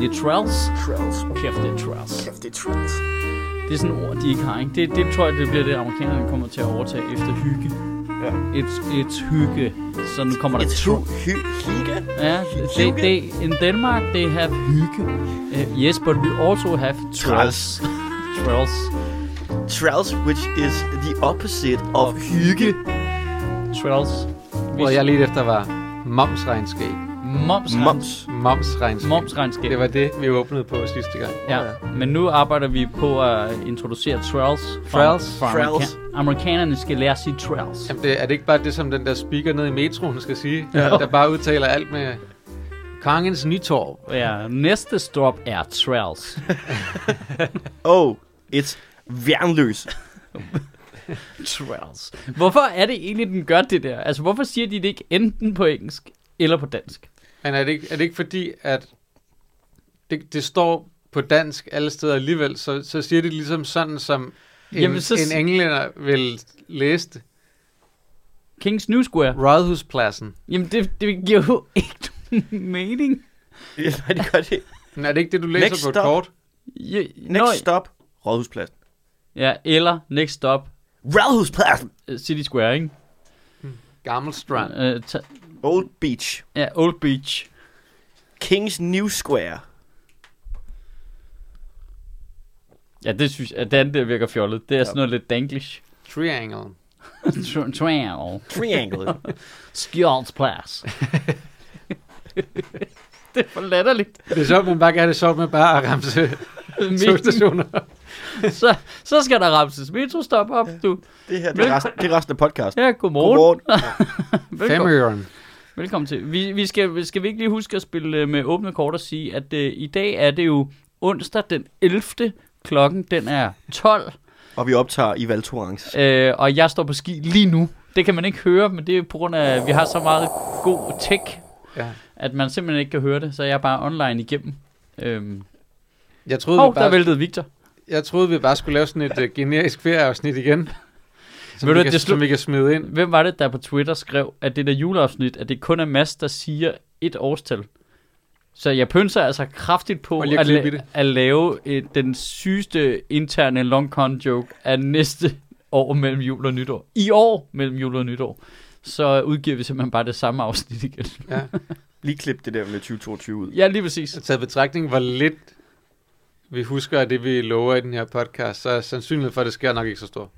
Det er Trells. Trolls. Kæft, det er Trells. Kæft, det er trolls. Det er sådan et ord, de ikke har. Ikke? Det, det tror jeg, det bliver det, amerikanerne kommer til at overtage efter hygge. Ja. Et, et hygge. Sådan kommer der tru. hygge. Ja, det, det, in Denmark, they have hygge. Uh, yes, but we also have trolls. Trolls. trolls. Trolls, which is the opposite of hygge. Trolls. Hvor jeg lidt efter var momsregnskab. Moms. Moms. Momsregnskab. Momsregnskab. Det var det, vi åbnede på sidste gang. Ja, men nu arbejder vi på at introducere trolls. fra- Trolls. fra Trolls. Amerika- Amerikanerne skal lære at sige trolls. Jamen, det, er det ikke bare det, som den der speaker nede i metroen skal sige? Ja. Der bare udtaler alt med kongens nytorv. Ja, næste stop er trolls. Oh, it's værnløs. Trolls. Hvorfor er det egentlig, den gør det der? Altså, hvorfor siger de det ikke enten på engelsk eller på dansk? Men er det ikke, er det ikke fordi, at det, det står på dansk alle steder alligevel, så, så siger det ligesom sådan, som en, Jamen, Jamen, så så... s- en englænder vil læse det. Kings New Square. Rådhuspladsen. Jamen, det, det giver jo ikke nogen mening. Ja, nej, det gør det. Men er det ikke det, du læser Next på et stop. kort? Ja, Next stop, Rådhuspladsen. Ja, eller next stop, Rådhuspladsen! øh, City Square, ikke? Gammel Strand. Øh, ta- Old Beach. ja, Old Beach. Kings New Square. Ja, det synes jeg, den der virker fjollet. Det er sådan noget lidt danglish. Triangle. Tr- Triangle. Triangle. Skjoldsplads. det er for latterligt. Det er sjovt, man bare kan have det sjovt med bare at ramse togstationer. Så, så skal der ramses metrostop op, du. det her, det er, resten, det er resten af podcasten. Ja, godmorgen. Godmorgen. Velkommen. Femøren. Velkommen til. Vi, vi skal, skal vi ikke lige huske at spille øh, med åbne kort og sige, at øh, i dag er det jo onsdag den 11. Klokken den er 12, Og vi optager i Val Thorens. øh, og jeg står på ski lige nu. Det kan man ikke høre, men det er på grund af, at vi har så meget god tech, Ja. at man simpelthen ikke kan høre det, så jeg er bare online igennem. Øhm. Jeg troede, Hov, vi bare, der væltede Victor. jeg troede, vi bare skulle lave sådan et uh, generisk ferieafsnit igen. Som, Ved vi du, kan, det slu- som vi kan smide ind. Hvem var det, der på Twitter skrev, at det der juleafsnit, at det kun er Mads, der siger et årstal? Så jeg pønser altså kraftigt på Og at, lige at klippe i la- det. at lave øh, den sygeste interne long con joke af næste år mellem jul og nytår. I år mellem jul og nytår. Så udgiver vi simpelthen bare det samme afsnit igen. Ja. Lige klip det der med 2022 ud. Ja, lige præcis. Så Taget i betragtning, hvor lidt vi husker af det, vi lover i den her podcast, så er sandsynligheden for, at det sker nok ikke så stor.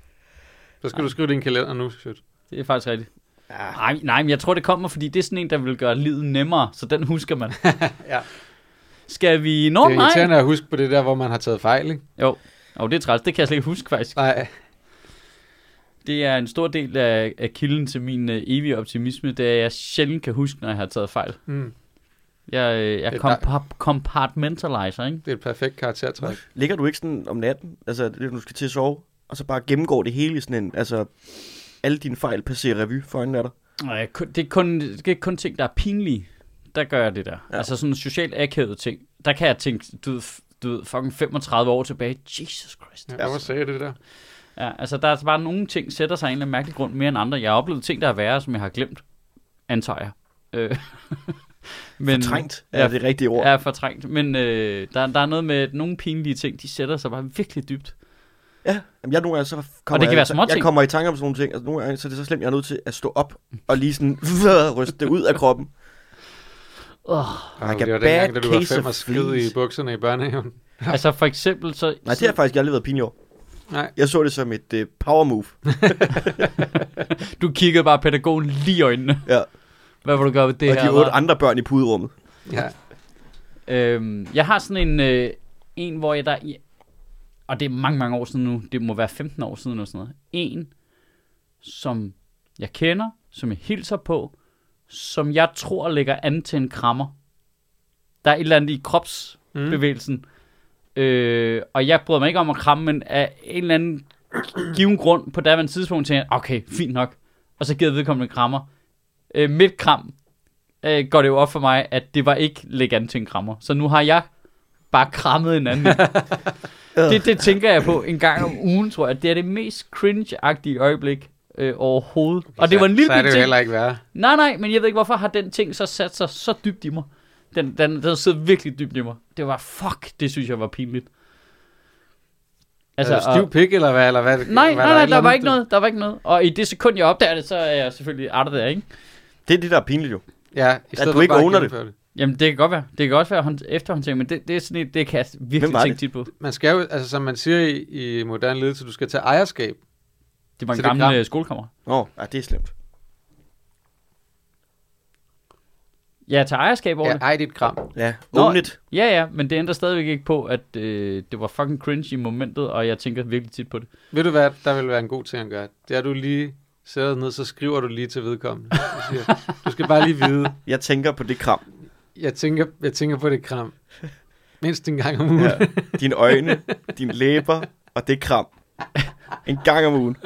Så skal du skrive din kalender nu, shit. Det er faktisk rigtigt. Ah. Ja. Nej, nej, men jeg tror, det kommer, fordi det er sådan en, der vil gøre livet nemmere, så den husker man. Ja. Skal vi... Nå, Oh, det er nej. irriterende at huske på det der, hvor man har taget fejl, ikke? Jo, oh, det er træls. Det kan jeg slet ikke huske, faktisk. Nej. Det er en stor del af, af kilden til min øh, evige optimisme, det er, at jeg sjældent kan huske, når jeg har taget fejl. Mm. Jeg, øh, jeg Det er kompa- compartmentalizer, ikke? Det er et perfekt karaktertræk. Ligger du ikke sådan om natten, altså det, du skal til at sove, og så bare gennemgår det hele i sådan en, altså alle dine fejl passerer revy foran af dig? Og jeg, kun- det, er kun, det er kun ting, der er pinlige, der gør jeg det der. Ja. Ja. Altså sådan socialt akavet ting. Der kan jeg tænke, du, ved, f- du ved, fucking 35 år tilbage, Jesus Christ. Ja, altså. hvor sagde jeg det der? Ja, altså der er bare nogle ting, sætter sig af en eller anden mærkelig grund mere end andre. Jeg har oplevet ting, der er værre, som jeg har glemt, antager jeg. Øh, Men, Trængt Ja. er det rigtige ord. er fortrængt. Men øh, der, der er noget med, at nogle pinlige ting, de sætter sig bare virkelig dybt. Ja, jamen, jeg nogle gange så kommer, Og det kan jeg, være småting. jeg kommer i tanke om sådan nogle ting, altså nogle gange så er det så slemt, jeg er nødt til at stå op og lige sådan ryste det ud af kroppen. Oh. Oh, a det var bad dengang, da du var case fem of og skid i fleas. bukserne i børnehaven. Altså for eksempel så... Nej, det har faktisk aldrig været pinligt. Nej. Jeg så det som et uh, power move. Du kiggede bare pædagogen lige i øjnene. Ja. Hvad vil du gøre ved det Det og her? de otte hva'? andre børn i puderummet. Ja. Øhm, jeg har sådan en, øh, en hvor jeg der... i- Og det er mange, mange år siden nu. Det må være 15 år siden eller sådan noget. En, som jeg kender, som jeg hilser på, som jeg tror lægger an til en krammer. Der er et eller andet i kropsbevægelsen. Mm. Øh, og jeg bryder mig ikke om at kramme, men af en eller anden given grund på daværende tidspunkt tænker jeg, okay, fint nok. Og så giver vedkommende en krammer. Øh, midt kram øh, går det jo op for mig, at det var ikke lægge an til en krammer. Så nu har jeg bare krammet en anden. Øh. det, det tænker jeg på en gang om ugen, tror jeg. Det er det mest cringe-agtige øjeblik øh, overhovedet. Okay, og det var en lille så er bit det jo ting. heller ikke værre. Nej, nej, men jeg ved ikke, hvorfor har den ting så sat sig så dybt i mig. Den, den, den sidder virkelig dybt i mig. Det var, fuck, det synes jeg var pinligt. Altså, altså stiv og, pik, eller hvad? Eller hvad nej, nej, hvad nej, der var andet, ikke du- noget, der var ikke noget. Og i det sekund, jeg opdager det, så er jeg selvfølgelig out of there, ikke? Det er det, der er pinligt jo. Ja, i stedet du for ikke bare at owner det. gennemføre det. Jamen, det kan godt være. Det kan også være hånd- efterhåndtering, men det, det er sådan et, det kan jeg Hvem virkelig var tænke det? tit på. Man skal jo, altså som man siger i, i moderne ledelse, du skal tage ejerskab. Det var Så en det er klam. gammel øh, skolekammerat. Åh, oh, ja, det er slemt. Ja, til ejerskab over Ja, ja. det. ej dit kram. Ja, Nå, own it. Ja, ja, men det ændrer stadigvæk ikke på, at øh, det var fucking cringe i momentet, og jeg tænker virkelig tit på det. Ved du hvad, der vil være en god ting at gøre? Det er, at du lige sætter dig ned, så skriver du lige til vedkommende. Du, siger, du skal bare lige vide, Jeg tænker på det kram. jeg tænker, jeg tænker på det kram. Mindst en gang om ugen. Ja. Dine øjne, dine læber og det kram. En gang om ugen.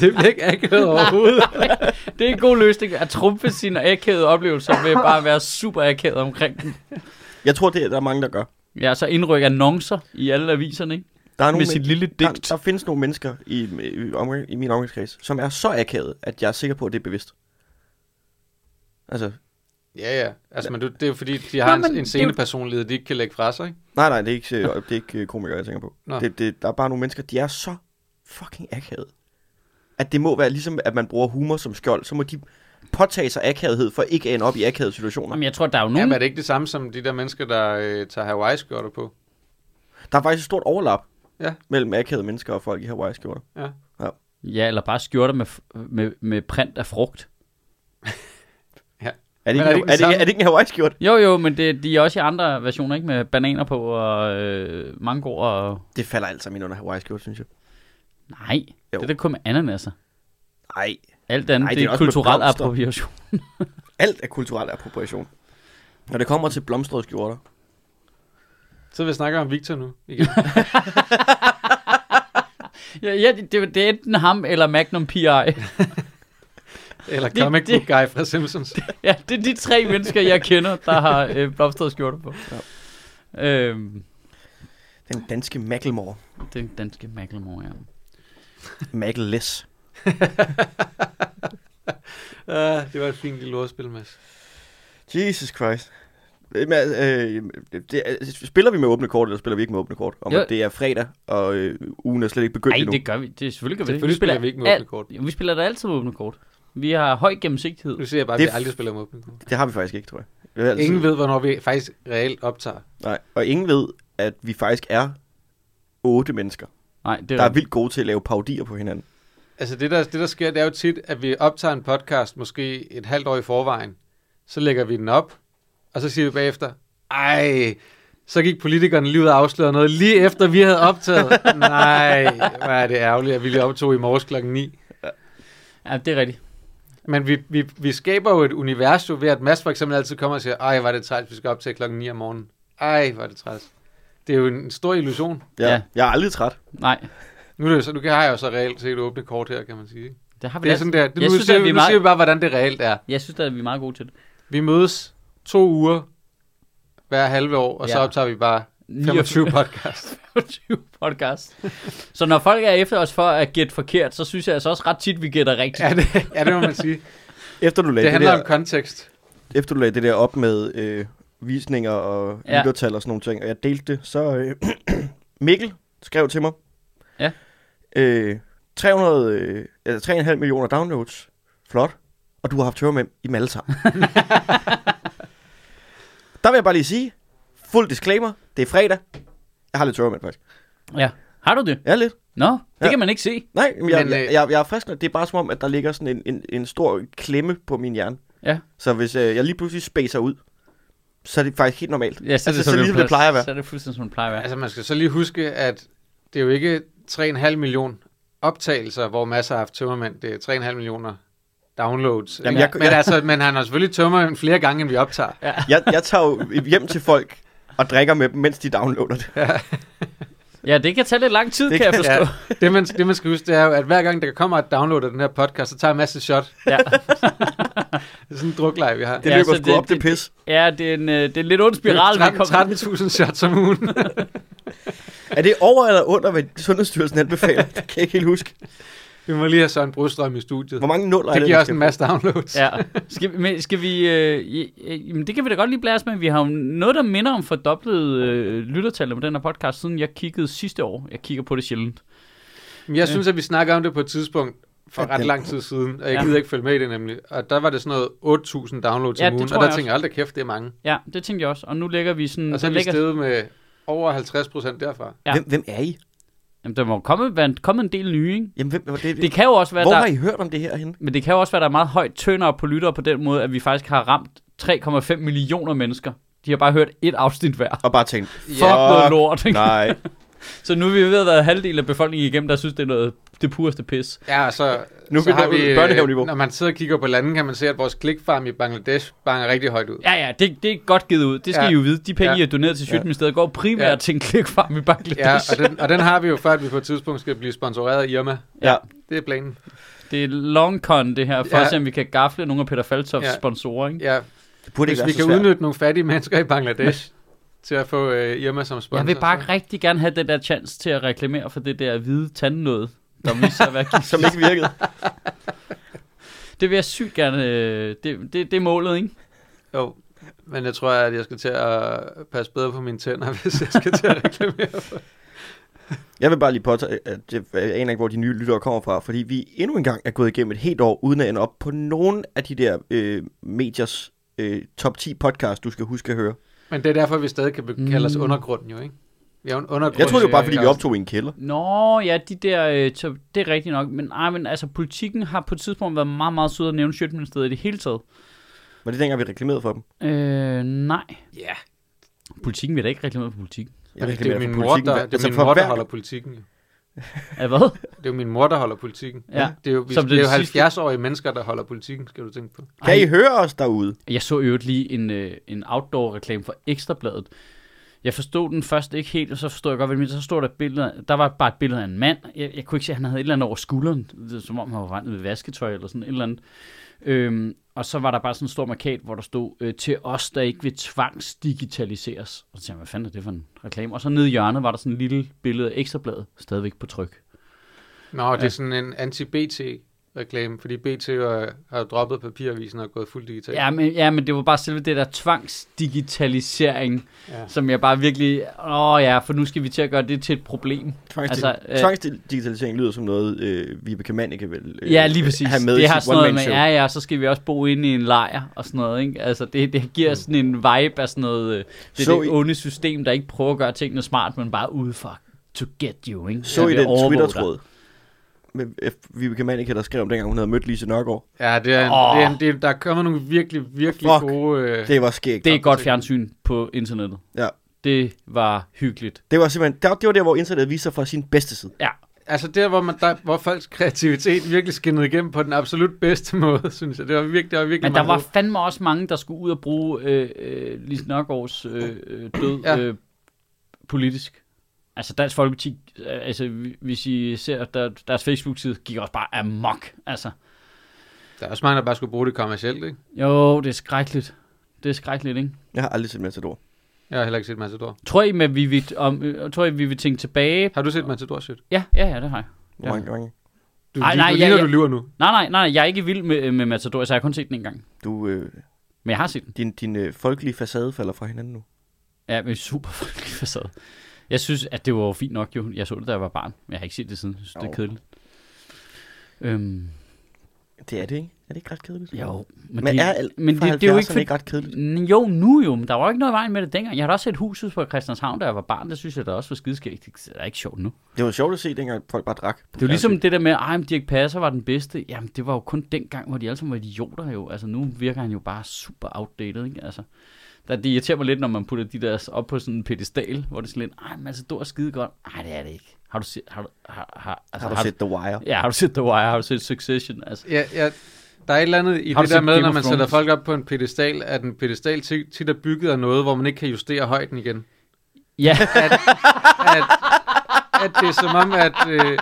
Det bliver ikke akavet overhovedet. Det er en god løsning at trumfe sine akavede oplevelser ved bare at være super akavet omkring dem. Jeg tror, det er, der er mange, der gør. Ja, så indrykke annoncer i alle aviserne, ikke? Der er Med nogle sit men- lille der, digt. der findes nogle mennesker i, i, omgang, i min omgangskreds, som er så akavet, at jeg er sikker på, at det er bevidst. Altså, Ja, ja. Altså, men du, det er jo fordi, de Nå, har Nå, men en, en det er jo- scenepersonlighed, de ikke kan lægge fra sig, ikke? nej, nej, det er ikke, øh, det er ikke øh, komikere, jeg tænker på. Nå. Det, det, der er bare nogle mennesker, de er så fucking akavet, at det må være ligesom, at man bruger humor som skjold, så må de påtage sig akavethed for ikke at ende op i akavede situationer. Jamen, jeg tror, der er jo Jamen, nogen... er det ikke det samme som de der mennesker, der øh, tager Hawaii-skjorter på? Mm. Der er faktisk et stort overlap Ja. mellem akavede mennesker og folk i Hawaii-skjorter. Ja. Ja, eller bare skjorter med, f- med, med print af frugt. Er det, Men ikke, er det en- ikke er, den det, samme? ikke- er det ikke en Hawaii-skjorte? Jo, jo, men det, de er også i andre versioner, ikke? Med bananer på og øh, mangoer og... Det falder altså alt sammen ind under Hawaii-skjorte, synes jeg. Nej, jo. det Jo. er da kun med ananaser. Nej, Alt andet, Nej, Ej, det det, er det er også med kulturel blomster. appropriation. alt er kulturel appropriation. Når det kommer til blomstrede skjorter, Så vi snakker om Victor nu igen. Ja, ja det, det, det er enten ham eller Magnum P.I. Eller Det- Comic det- Book Guy fra Simpsons. ja, det er de tre mennesker, jeg kender, der har øh, blomstrede skjorter på. Ja. Øhm, den danske Macklemore. den danske Macklemore, ja. Mackless. Uh, det var et fint lille ordspil, Mads. Jesus Christ. Men, øh, det, er- spiller vi med åbne kort, eller spiller vi ikke med åbne kort? Om Jo. at det er fredag, og øh, ugen er slet ikke begyndt Nej, endnu. det gør vi. Det er selvfølgelig gør vi. det. Selvfølgelig spiller vi ikke med alt- åbne kort. Ja, Vi spiller da altid med åbne kort. Vi har høj gennemsigtighed. Nu siger jeg bare, at Det Altså- vi er f- aldrig spiller med åbne kort. Det har vi faktisk ikke, tror jeg. Det er altid- Ingen ved, hvornår vi faktisk reelt optager. Nej, og ingen ved, at vi faktisk er otte mennesker, Nej, det der er, er vildt gode til at lave paudier på hinanden. Altså det der, det der sker, det er jo tit, at vi optager en podcast måske et halvt år i forvejen. Så lægger vi den op, og så siger vi bagefter, ej, så gik politikerne lige ud og afslørede noget, lige efter vi havde optaget. Nej, hvor er det ærgerligt, at vi lige optog i morges klokken 9. ja, det er rigtigt. Men vi, vi, vi skaber jo et univers jo ved, at Mads for eksempel altid kommer og siger, ej, hvor er det træls, vi skal optage klokken 9 om morgenen. Ej, hvor er det træls. Det er jo en stor illusion. Ja, Ja. ja. Jeg er aldrig træt. Nej, Nu, er det jo så, nu har jeg jo så reelt set åbne kort her, kan man sige. det har vi Det da er sådan der. Det, nu, Jeg synes, synes, siger, at vi vi er nu siger meget- vi bare, hvordan det reelt er. Jeg synes da, at vi er meget gode til det. Vi mødes to uger hver halve år, og ja. så Ja. optager vi bare 25 podcast. 25 podcast. Så når folk er efter os for at gætte forkert, så synes jeg altså også ret tit, vi gætter rigtigt. ja, det, ja, det må man sige. Efter du lagde Det det, handler der, om kontekst. efter du lagde det der op med øh, visninger og Ja. ja. lyttertal og sådan nogle ting, og jeg delte det, så øh, Mikkel skrev til mig, Ja. øh, 300, øh, altså 3,5 millioner downloads, flot, og du har haft tøver med i alle sammen. der vil jeg bare lige sige, fuld disclaimer, det er fredag, jeg har lidt tøver med faktisk. Ja. Har du det? Ja, lidt. Nå, det Ja. kan man ikke se. Nej, men jeg, Men, men, øh, jeg, jeg, jeg er frisk, nok. det er bare som om, at der ligger sådan en, en, en stor klemme på min hjerne. Ja. Så hvis øh, jeg lige pludselig spacer ud, så er det faktisk helt normalt. Ja, så, Altså, så ligesom det plads- plejer at være. Så er det fuldstændig, som det plejer at være. Altså, man skal så lige huske, at det er jo ikke 3,5 millioner optagelser, hvor masser har haft tømmermænd. Det er 3,5 millioner downloads. Jamen, Jamen, jeg- jeg, men, jeg- altså, men han har selvfølgelig tømmer flere gange, end vi optager. Ja. Jeg, jeg tager jo hjem til folk og drikker med dem, mens de downloader det. Ja, det kan tage lidt lang tid, Det kan jeg kan- forstå. Det, man, det, man skal huske, det er jo, at hver gang der kommer et download af den her podcast, så tager jeg en masse shot. Ja. Det er sådan en drukleje, vi har. Det Ja, ja, løber så sgu det- op det, det- pis. Ja, ja det, er en, øh, det er en lidt ond spiral, vi kommer- 13 13.000 shots om ugen. Er det over eller under, hvad Sundhedsstyrelsen anbefaler? Det kan jeg ikke helt huske. Vi må lige have Søren Brostrøm i studiet. Hvor mange nuller er Det det? giver vi også skal en på? masse downloads. Ja. Skal, vi- men skal vi... Øh, i- øh, jamen, det kan vi da godt lige blæse med. Vi har jo noget, der minder om fordoblet øh, lyttertallet med den her podcast, siden jeg kiggede sidste år. Jeg kigger på det sjældent. Men jeg synes, at vi snakker om det på et tidspunkt for Ja, ret den- lang tid siden, og jeg Ja. gider ikke følge med i det nemlig. Og der var det sådan noget 8.000 downloads Ja, om det ugen, tror og der jeg tænker jeg, aldrig kæft, det er mange. Mm, Ja, det tænkte jeg også. Og nu lægger vi sådan... Og så er der vi ligger- steget med over 50 procent derfra. Ja. Hvem, hvem er I? Jamen, der må jo komme, være- komme en del nye, ikke? Jamen, hvem, hvor, det, Det kan jo også være, hvor der... har I hørt om det her henne? Men det kan jo også være, der er meget højt tønder på lyttere på den måde, at vi faktisk har ramt 3,5 millioner mennesker. De har bare hørt et afsnit hver. Og bare tænkt, Fuck noget lort, ikke? nej. Så nu er vi ved at være halvdelen af befolkningen igennem, der synes, det er noget, det pureste pis. Ja, og så, Nu er så vi nået øh, børnehaveniveau. Når man sidder og kigger på landene, kan man se, at vores klikfarm i Bangladesh banger rigtig højt ud. Ja, ja, det, det er godt givet ud. Det skal Ja. ja. I jo vide. De penge, Ja. ja. I har doneret til Sjøtministeriet, går primært Ja. ja. til en klikfarm i Bangladesh. Ja, og den, og den har vi jo før, at vi på et tidspunkt skal blive sponsoreret af Irma. Ja. Det er planen. Det er long con, det her, for Ja. ja. at se, om vi kan gafle nogle af Peter Faltofs Ja. ja. sponsorer. Ikke? Ja, Det burde hvis ikke vi være så kan svært. udnytte nogle fattige mennesker i Bangladesh til at få øh, Irma som sponsor. Jeg vil bare så- rigtig gerne have den der chance til at reklamere for det der hvide tandnød, der viser sig at være gift. Som ikke virkede. Det vil jeg sygt gerne. øh, Det, det, det er målet, ikke? Jo, men jeg tror, at jeg skal til at passe bedre på mine tænder, hvis jeg skal til at reklamere for. Jeg vil bare lige påtage, at det- jeg aner ikke, hvor de nye lyttere kommer fra, fordi vi endnu engang er gået igennem et helt år, uden at ende op på nogen af de der øh, mediers øh, top 10 podcast, du skal huske at høre. Men det er derfor, vi stadig kan be- kalde os Mm. undergrunden jo, ikke? Vi er jo en undergrund. Jeg tror det var bare, fordi vi optog i en kælder. Nå, ja, de der, øh, top- det er rigtigt nok. Men, ej, men altså, politikken har på et tidspunkt været meget, meget sød at nævne Sjøtministeriet i det hele taget. Men det er dengang, vi reklamerede for dem. Øh, nej. Ja, Politikken vil da ikke reklamere for politikken. Jeg det er reklamerede min for mor, der, politikken. det er altså, min for mor, der hver- holder politikken. jo. Ja, hvad? Det er jo min mor, der holder politikken. Ja. Det er jo, vi, Som det er den jo sidste. 70-årige mennesker, der holder politikken, skal du tænke på. Kan I høre os derude? Jeg så i øvrigt lige en, øh, en outdoor-reklame for Ekstrabladet. Jeg forstod den først ikke helt, og så forstod jeg godt, hvad det mente. Så stod der et billede, af- der var bare et billede af en mand. Jeg, jeg kunne ikke se, at han havde et eller andet over skulderen, Det er som om han var rendt ved vasketøj eller sådan et eller andet. Øhm, og så var der bare sådan en stor markat, hvor der stod, øh, til os, der ikke vil tvangsdigitaliseres. Og så tænkte jeg, hvad fanden er det for en reklame? Og så nede i hjørnet var der sådan et lille billede af Ekstrabladet, stadigvæk på tryk. Nå, det er sådan en anti-BT-reklame, fordi BT jo har jo droppet papiravisen og er gået fuldt digitalt. Ja men, ja, men det var bare selve det der tvangsdigitalisering, Ja. ja. som jeg bare virkelig, åh ja, for nu skal vi til at gøre det til et problem. Altså, Altså, øh, Tvangsdigitalisering lyder som noget, øh, Vibeke Mann kan vel øh, Ja, lige præcis. have med i det har sit sådan noget med, one-man-show. ja, ja, så skal vi også bo inde i en lejr og sådan noget, ikke? Altså, det, det giver sådan en vibe af sådan noget, øh, det, Mm. Så så det I- onde system, der ikke prøver at gøre tingene smart, men bare udefra to get you, ikke? Så Jeg i vil den overvåge dig. Twitter-tråd. Med F- Vibeke Mannicke, der skrev om dengang, hun havde mødt Lise Nørgaard. ja det er, en, Åh. det er en, det er, der kommer nogle virkelig, virkelig Fuck. gode... Øh, Det var skægt. Det er Det, godt fjernsyn på internettet. Ja. Det var hyggeligt. det var simpelthen, der, det var der, hvor internettet viste sig fra sin bedste side. Ja, Altså der, hvor, man, der, hvor folks kreativitet virkelig skinnede igennem på den absolut bedste måde, synes jeg. Det var, virke, det var virkelig men der meget var fedt. fandme også mange, der skulle ud og bruge øh, øh, Lise Nørgaards øh, øh, død Ja. ja. øh, politisk. Altså Dansk Folkeparti, øh, altså vi- hvis I ser der, deres Facebook-side, gik også bare amok, altså. der er også mange, der bare skulle bruge det kommercielt, ikke? Jo, det er skrækkeligt. Det er skrækkeligt, ikke? Jeg har aldrig set Matador. Jeg har heller ikke set Matador. Tror I, med, vi vil, om, øh, tror I, vi vil tænke tilbage? Har du set Matador, Sjøt? Ja, ja, ja, det har jeg. Hvor Ja. mange gange? Du, Ej, du- nej, du ja, ligner, ja. du lyver nu. Nej, nej, nej, nej, jeg er ikke vild med, med Matador, så jeg har kun set den en gang. Du, øh, Men jeg har set den. din, din øh, folkelige facade falder fra hinanden nu. Ja, men super folkelig facade. Jeg synes, at det var jo fint nok, jo. Jeg så det, da jeg var barn. Men jeg har ikke set det siden. Jeg synes, det Jo. er kedeligt. Øhm, Det er det, ikke? Er det ikke ret kedeligt? jo, men, Men, men det, er alt men det, det er jo ikke, for, ikke ret kedeligt? Jo, nu jo, men der var ikke noget i vejen med det dengang. Jeg har da også set huset på Christianshavn, da jeg var barn. Det synes jeg da også var skideskægt. Det er ikke sjovt nu. Det var sjovt at se, dengang folk bare drak. Det er jo ligesom det der med, at Dirk Passer var den bedste. Jamen, det var jo kun dengang, hvor de alle sammen var idioter jo. Altså, nu virker han jo bare super outdated, ikke? Altså, der, det irriterer mig lidt, når man putter de der op på sådan en pedestal, hvor det er sådan lidt, ej, men altså, du er skide godt. Nej, det er det ikke. Har du set, har du, har, har, altså, Har du set The Wire? Ja, har du set The Wire? Har du set Succession? Altså, Ja, ja, Der er et eller andet i Har du det der set med, Game når of man sætter Thrones? folk op på en pedestal, at en pedestal tit tit er bygget af noget, hvor man ikke kan justere højden igen. Ja, at, at det er som om, at øh,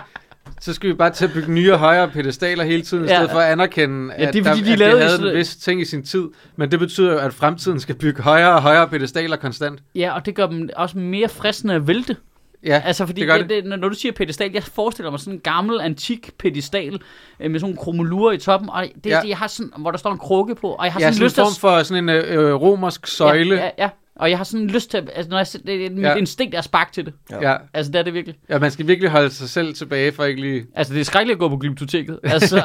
så skal vi bare til at bygge nye og højere pedestaler hele tiden, i Ja. stedet for at anerkende, Ja, at, det er fordi, de at lavede det havde sådan- en vis ting i sin tid. Men det betyder jo, at fremtiden skal bygge højere og højere pedestaler konstant. ja, og det gør dem også mere fristende at vælte. Ja, Altså, fordi det gør det det. Det, når du siger pedestal, jeg forestiller mig sådan en gammel, antik pedestal øh, med sådan nogle kromolurer i toppen, og det, ja. Ja. det, jeg har sådan, hvor der står en krukke på, og jeg har Ja, sådan sådan en lyst til at form for sådan en øh, øh, romersk søjle. Ja, ja, ja, og jeg har sådan lyst til, at, altså, når jeg, ser- det, det, mit Ja. instinkt er at sparke til det. ja. ja. Altså, det er det virkelig. ja, man skal virkelig holde sig selv tilbage for ikke lige... Altså, det er skrækkeligt at gå på glyptoteket. Altså,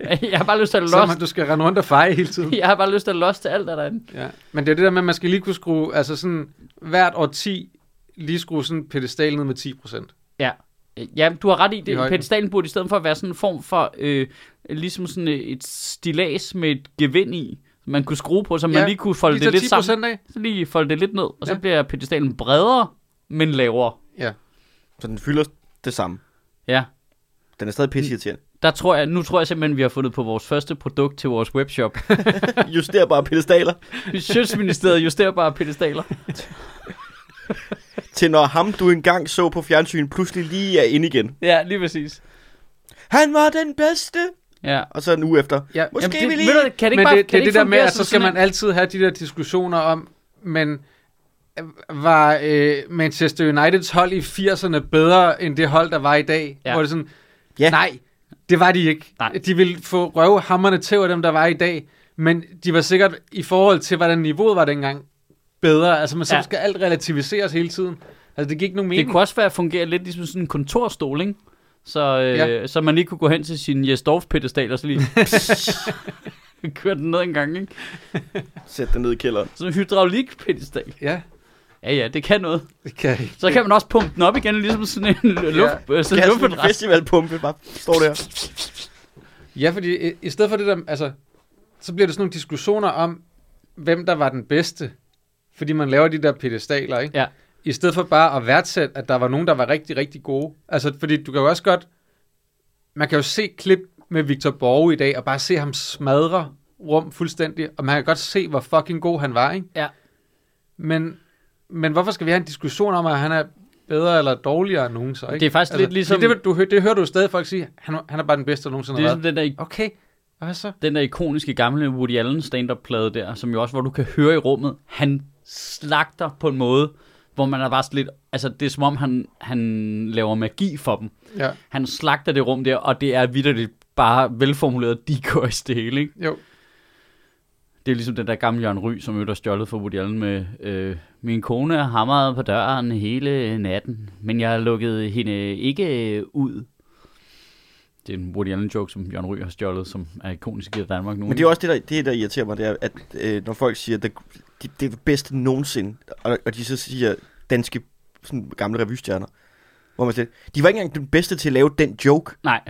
jeg har bare lyst til at Så man, lost. du skal rende rundt og feje hele tiden. Jeg har bare lyst til at lost til alt, der er derinde. Ja. Men det er det der med, at man skal lige kunne skrue, altså sådan hvert årti, lige skrue sådan en pedestal ned med 10 procent. Ja. Ja, du har ret i I det. højden. Pedestalen burde i stedet for at være sådan en form for, øh, ligesom sådan et stilas med et gevind i, som man kunne skrue på, så man Ja, lige kunne folde Lige det tage lidt 10 sammen. procent af? Så lige folde det lidt ned, og så Ja. bliver pedestalen bredere, men lavere. Ja. Så den fylder det samme. Ja. Den er stadig pisseirriterende. Der tror jeg, nu tror jeg simpelthen, vi har fundet på vores første produkt til vores webshop. Juster bare pedestaler Sjøtsministeriet justerbare pedestaler. til når ham, du engang så på fjernsyn, pludselig lige er inde igen. Ja, lige præcis. Han var den bedste! Ja. Og så en uge efter. Ja, Måske det, vi lige... ved du, kan det ikke men bare, kan det, det, det, det ikke der med, fungere at som så skal sådan man altid have de der diskussioner om, men øh, var øh, Manchester Uniteds hold i 80'erne bedre end det hold, der var i dag? Ja. Hvor det er sådan, Ja. ja. nej, det var de ikke. Nej. De ville få røvhammerne til af dem, der var i dag, men de var sikkert i forhold til, hvordan niveauet var dengang, bedre. Altså, man så Ja. ja. skal alt relativiseres hele tiden. Altså, det gik ikke nogen Det mening. kunne også være at fungere lidt ligesom sådan en kontorstol, ikke? Så, øh, ja. Ja. så man lige kunne gå hen til sin Jesdorf pedestal og så lige køre den ned en gang, ikke? Sæt den ned i kælderen. Sådan en hydraulik pedestal. Ja, Ja, ja, det kan noget. det kan jeg ikke. Så kan man også pumpe den op igen, ligesom sådan en l- luft, ja. sådan en Kasten en luftmadras. festivalpumpe, bare står der. Ja, fordi i, i stedet for det der, altså, så bliver det sådan nogle diskussioner om, hvem der var den bedste, fordi man laver de der pedestaler, ikke? Ja. I stedet for bare at værdsætte, at der var nogen, der var rigtig, rigtig gode. Altså, fordi du kan jo også godt, man kan jo se klip med Victor Borge i dag, og bare se ham smadre rum fuldstændig, og man kan godt se, hvor fucking god han var, ikke? Ja. Men, men hvorfor skal vi have en diskussion om, at han er bedre eller dårligere end nogen så, ikke? Altså, Det er faktisk lidt fordi ligesom- Det, du, hø- det hører du jo stadig folk sige, han, han er bare den bedste, der nogensinde Det er har været. sådan den der, Okay, hvad så? den der ikoniske gamle Woody Allen stand-up-plade der, som jo også, hvor du kan høre i rummet, han slagter på en måde, hvor man er bare sådan lidt... Altså, det er som om, han, han laver magi for dem. Ja, Han slagter det rum der, og det er vidderligt bare velformuleret decoys det hele, ikke? jo. Det er ligesom den der gamle Jørgen Ry, som jo der stjålet for Woody Allen med, øh, min kone hamrede på døren hele natten, men jeg lukkede hende ikke ud. Det er en Woody Allen joke, som Jørgen Ry har stjålet, som er ikonisk i Danmark nu. Men det er også det, der, det, der irriterer mig, det er, at øh, når folk siger, at det, det er det bedste nogensinde, og, og de så siger danske sådan, gamle revystjerner, hvor man siger, de var ikke engang den bedste til at lave den joke Nej,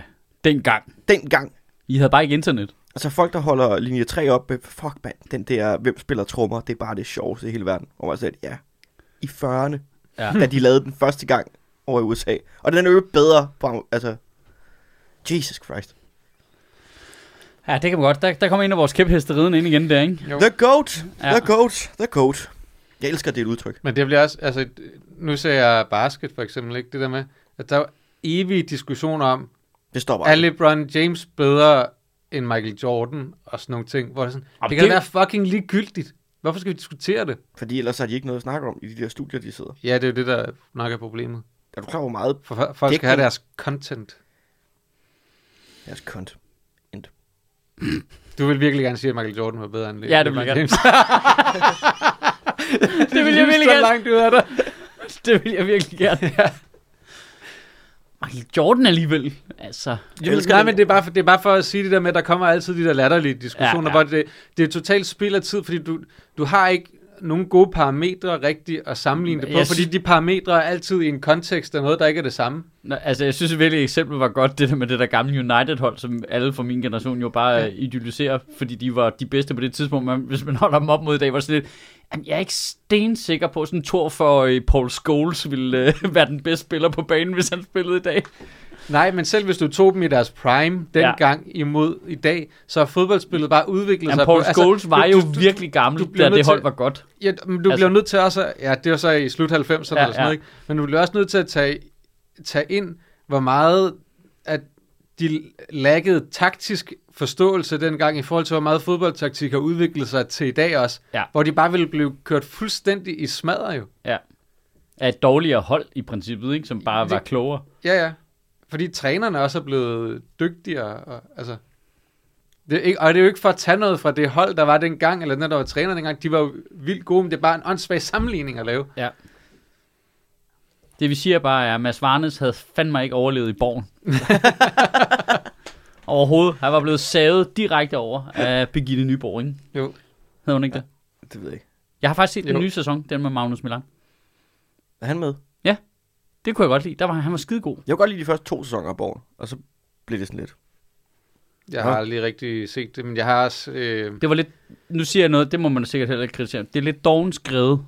dengang. dengang. I havde bare ikke internet. Altså folk, der holder linje 3 op med, fuck mand, den der, hvem spiller trommer, det er bare det sjoveste i hele verden. Hvor man sagde, ja, i 40'erne, Ja. ja. da de lavede den første gang over i USA. Og den er jo bedre på, altså, Jesus Christ. Ja, det kan man godt. Der, der kommer en af vores kæpheste riden ind igen der, ikke? Jo. The goat, Ja. the goat, the goat. Jeg elsker det udtryk. Men det bliver også, altså, nu ser jeg basket for eksempel, ikke? Det der med, at der er jo evige diskussioner om, Det står bare. er LeBron James bedre end Michael Jordan og sådan nogle ting, hvor det er sådan, Jamen, det kan det- det... være fucking ligegyldigt. Hvorfor skal vi diskutere det? Fordi ellers har de ikke noget at snakke om i de der studier, de sidder. Ja, det er jo det, der nok er problemet. Er du klar over hvor meget For for- folk Det skal have kan- deres content. deres kont? Du vil virkelig gerne sige, at Michael Jordan var bedre end Le- Ja, det vil LeBron jeg gerne. James. Det vil jeg virkelig Så gerne. langt ud af det. Det vil jeg virkelig gerne. ja. Michael Jordan alligevel, altså. Jamen, elsker nej, den. men det er, bare for, det er bare for at sige det der med, at der kommer altid de der latterlige diskussioner, Ja, ja, ja. ja. hvor det, det er totalt spild af tid, fordi du, du har ikke nogen gode parametre rigtigt at sammenligne det på, Jeg yes. sy- fordi de parametre er altid i en kontekst af noget, der ikke er det samme. Nå, altså, jeg synes virkelig, eksemplet var godt, det der med det der gamle United-hold, som alle fra min generation jo bare ja. idylliserer, fordi de var de bedste på det tidspunkt. Men hvis man holder dem op mod i dag, var det sådan lidt, jamen, jeg er ikke stensikker på, øh, sådan en tor for Paul Scholes ville øh, være den bedste spiller på banen, hvis han spillede i dag. Nej, men selv hvis du tog dem i deres prime dengang ja. imod i dag, så har fodboldspillet bare udviklet Jamen, sig. altså, Paul Scholes var du- jo du- du- virkelig gammel, du da bliver nødt det hold til- var godt. Ja, men Altså- du altså, bliver nødt til også, at- ja, det var så i slut 90'erne ja, eller sådan ja. noget, ikke? men du bliver også nødt til at tage, tage ind, hvor meget at de laggede taktisk forståelse dengang i forhold til, hvor meget fodboldtaktik har udviklet sig til i dag også, Ja. hvor de bare ville blive kørt fuldstændig i smadret jo. Ja. Af et dårligere hold i princippet, ikke? som bare Det- var klogere. Ja, ja. Fordi trænerne også er blevet dygtigere. Og, altså, det er ikke, og det er jo ikke for at tage noget fra det hold, der var dengang, eller den, der var træner dengang. De var jo vildt gode, men det er bare en åndssvag sammenligning at lave. Ja. Det vi siger bare er, at Mads Varnes havde fandme ikke overlevet i borgen. Overhovedet. Han var blevet savet direkte over af Birgitte Nyborg, ikke? Jo. Hedder hun ikke det? Det ved jeg ikke. Jeg har faktisk set den Jo. nye sæson, den med Magnus Milan. Er han med? Det kunne jeg godt lide. Der var, han var skidegod. Jeg kunne godt lide de første to sæsoner af Borgen, og så blev det sådan lidt. Jeg Nå. har aldrig rigtig set det, men jeg har også... Øh, Det var lidt, nu siger jeg noget, det må man sikkert heller ikke kritisere. Det er lidt doven skrevet.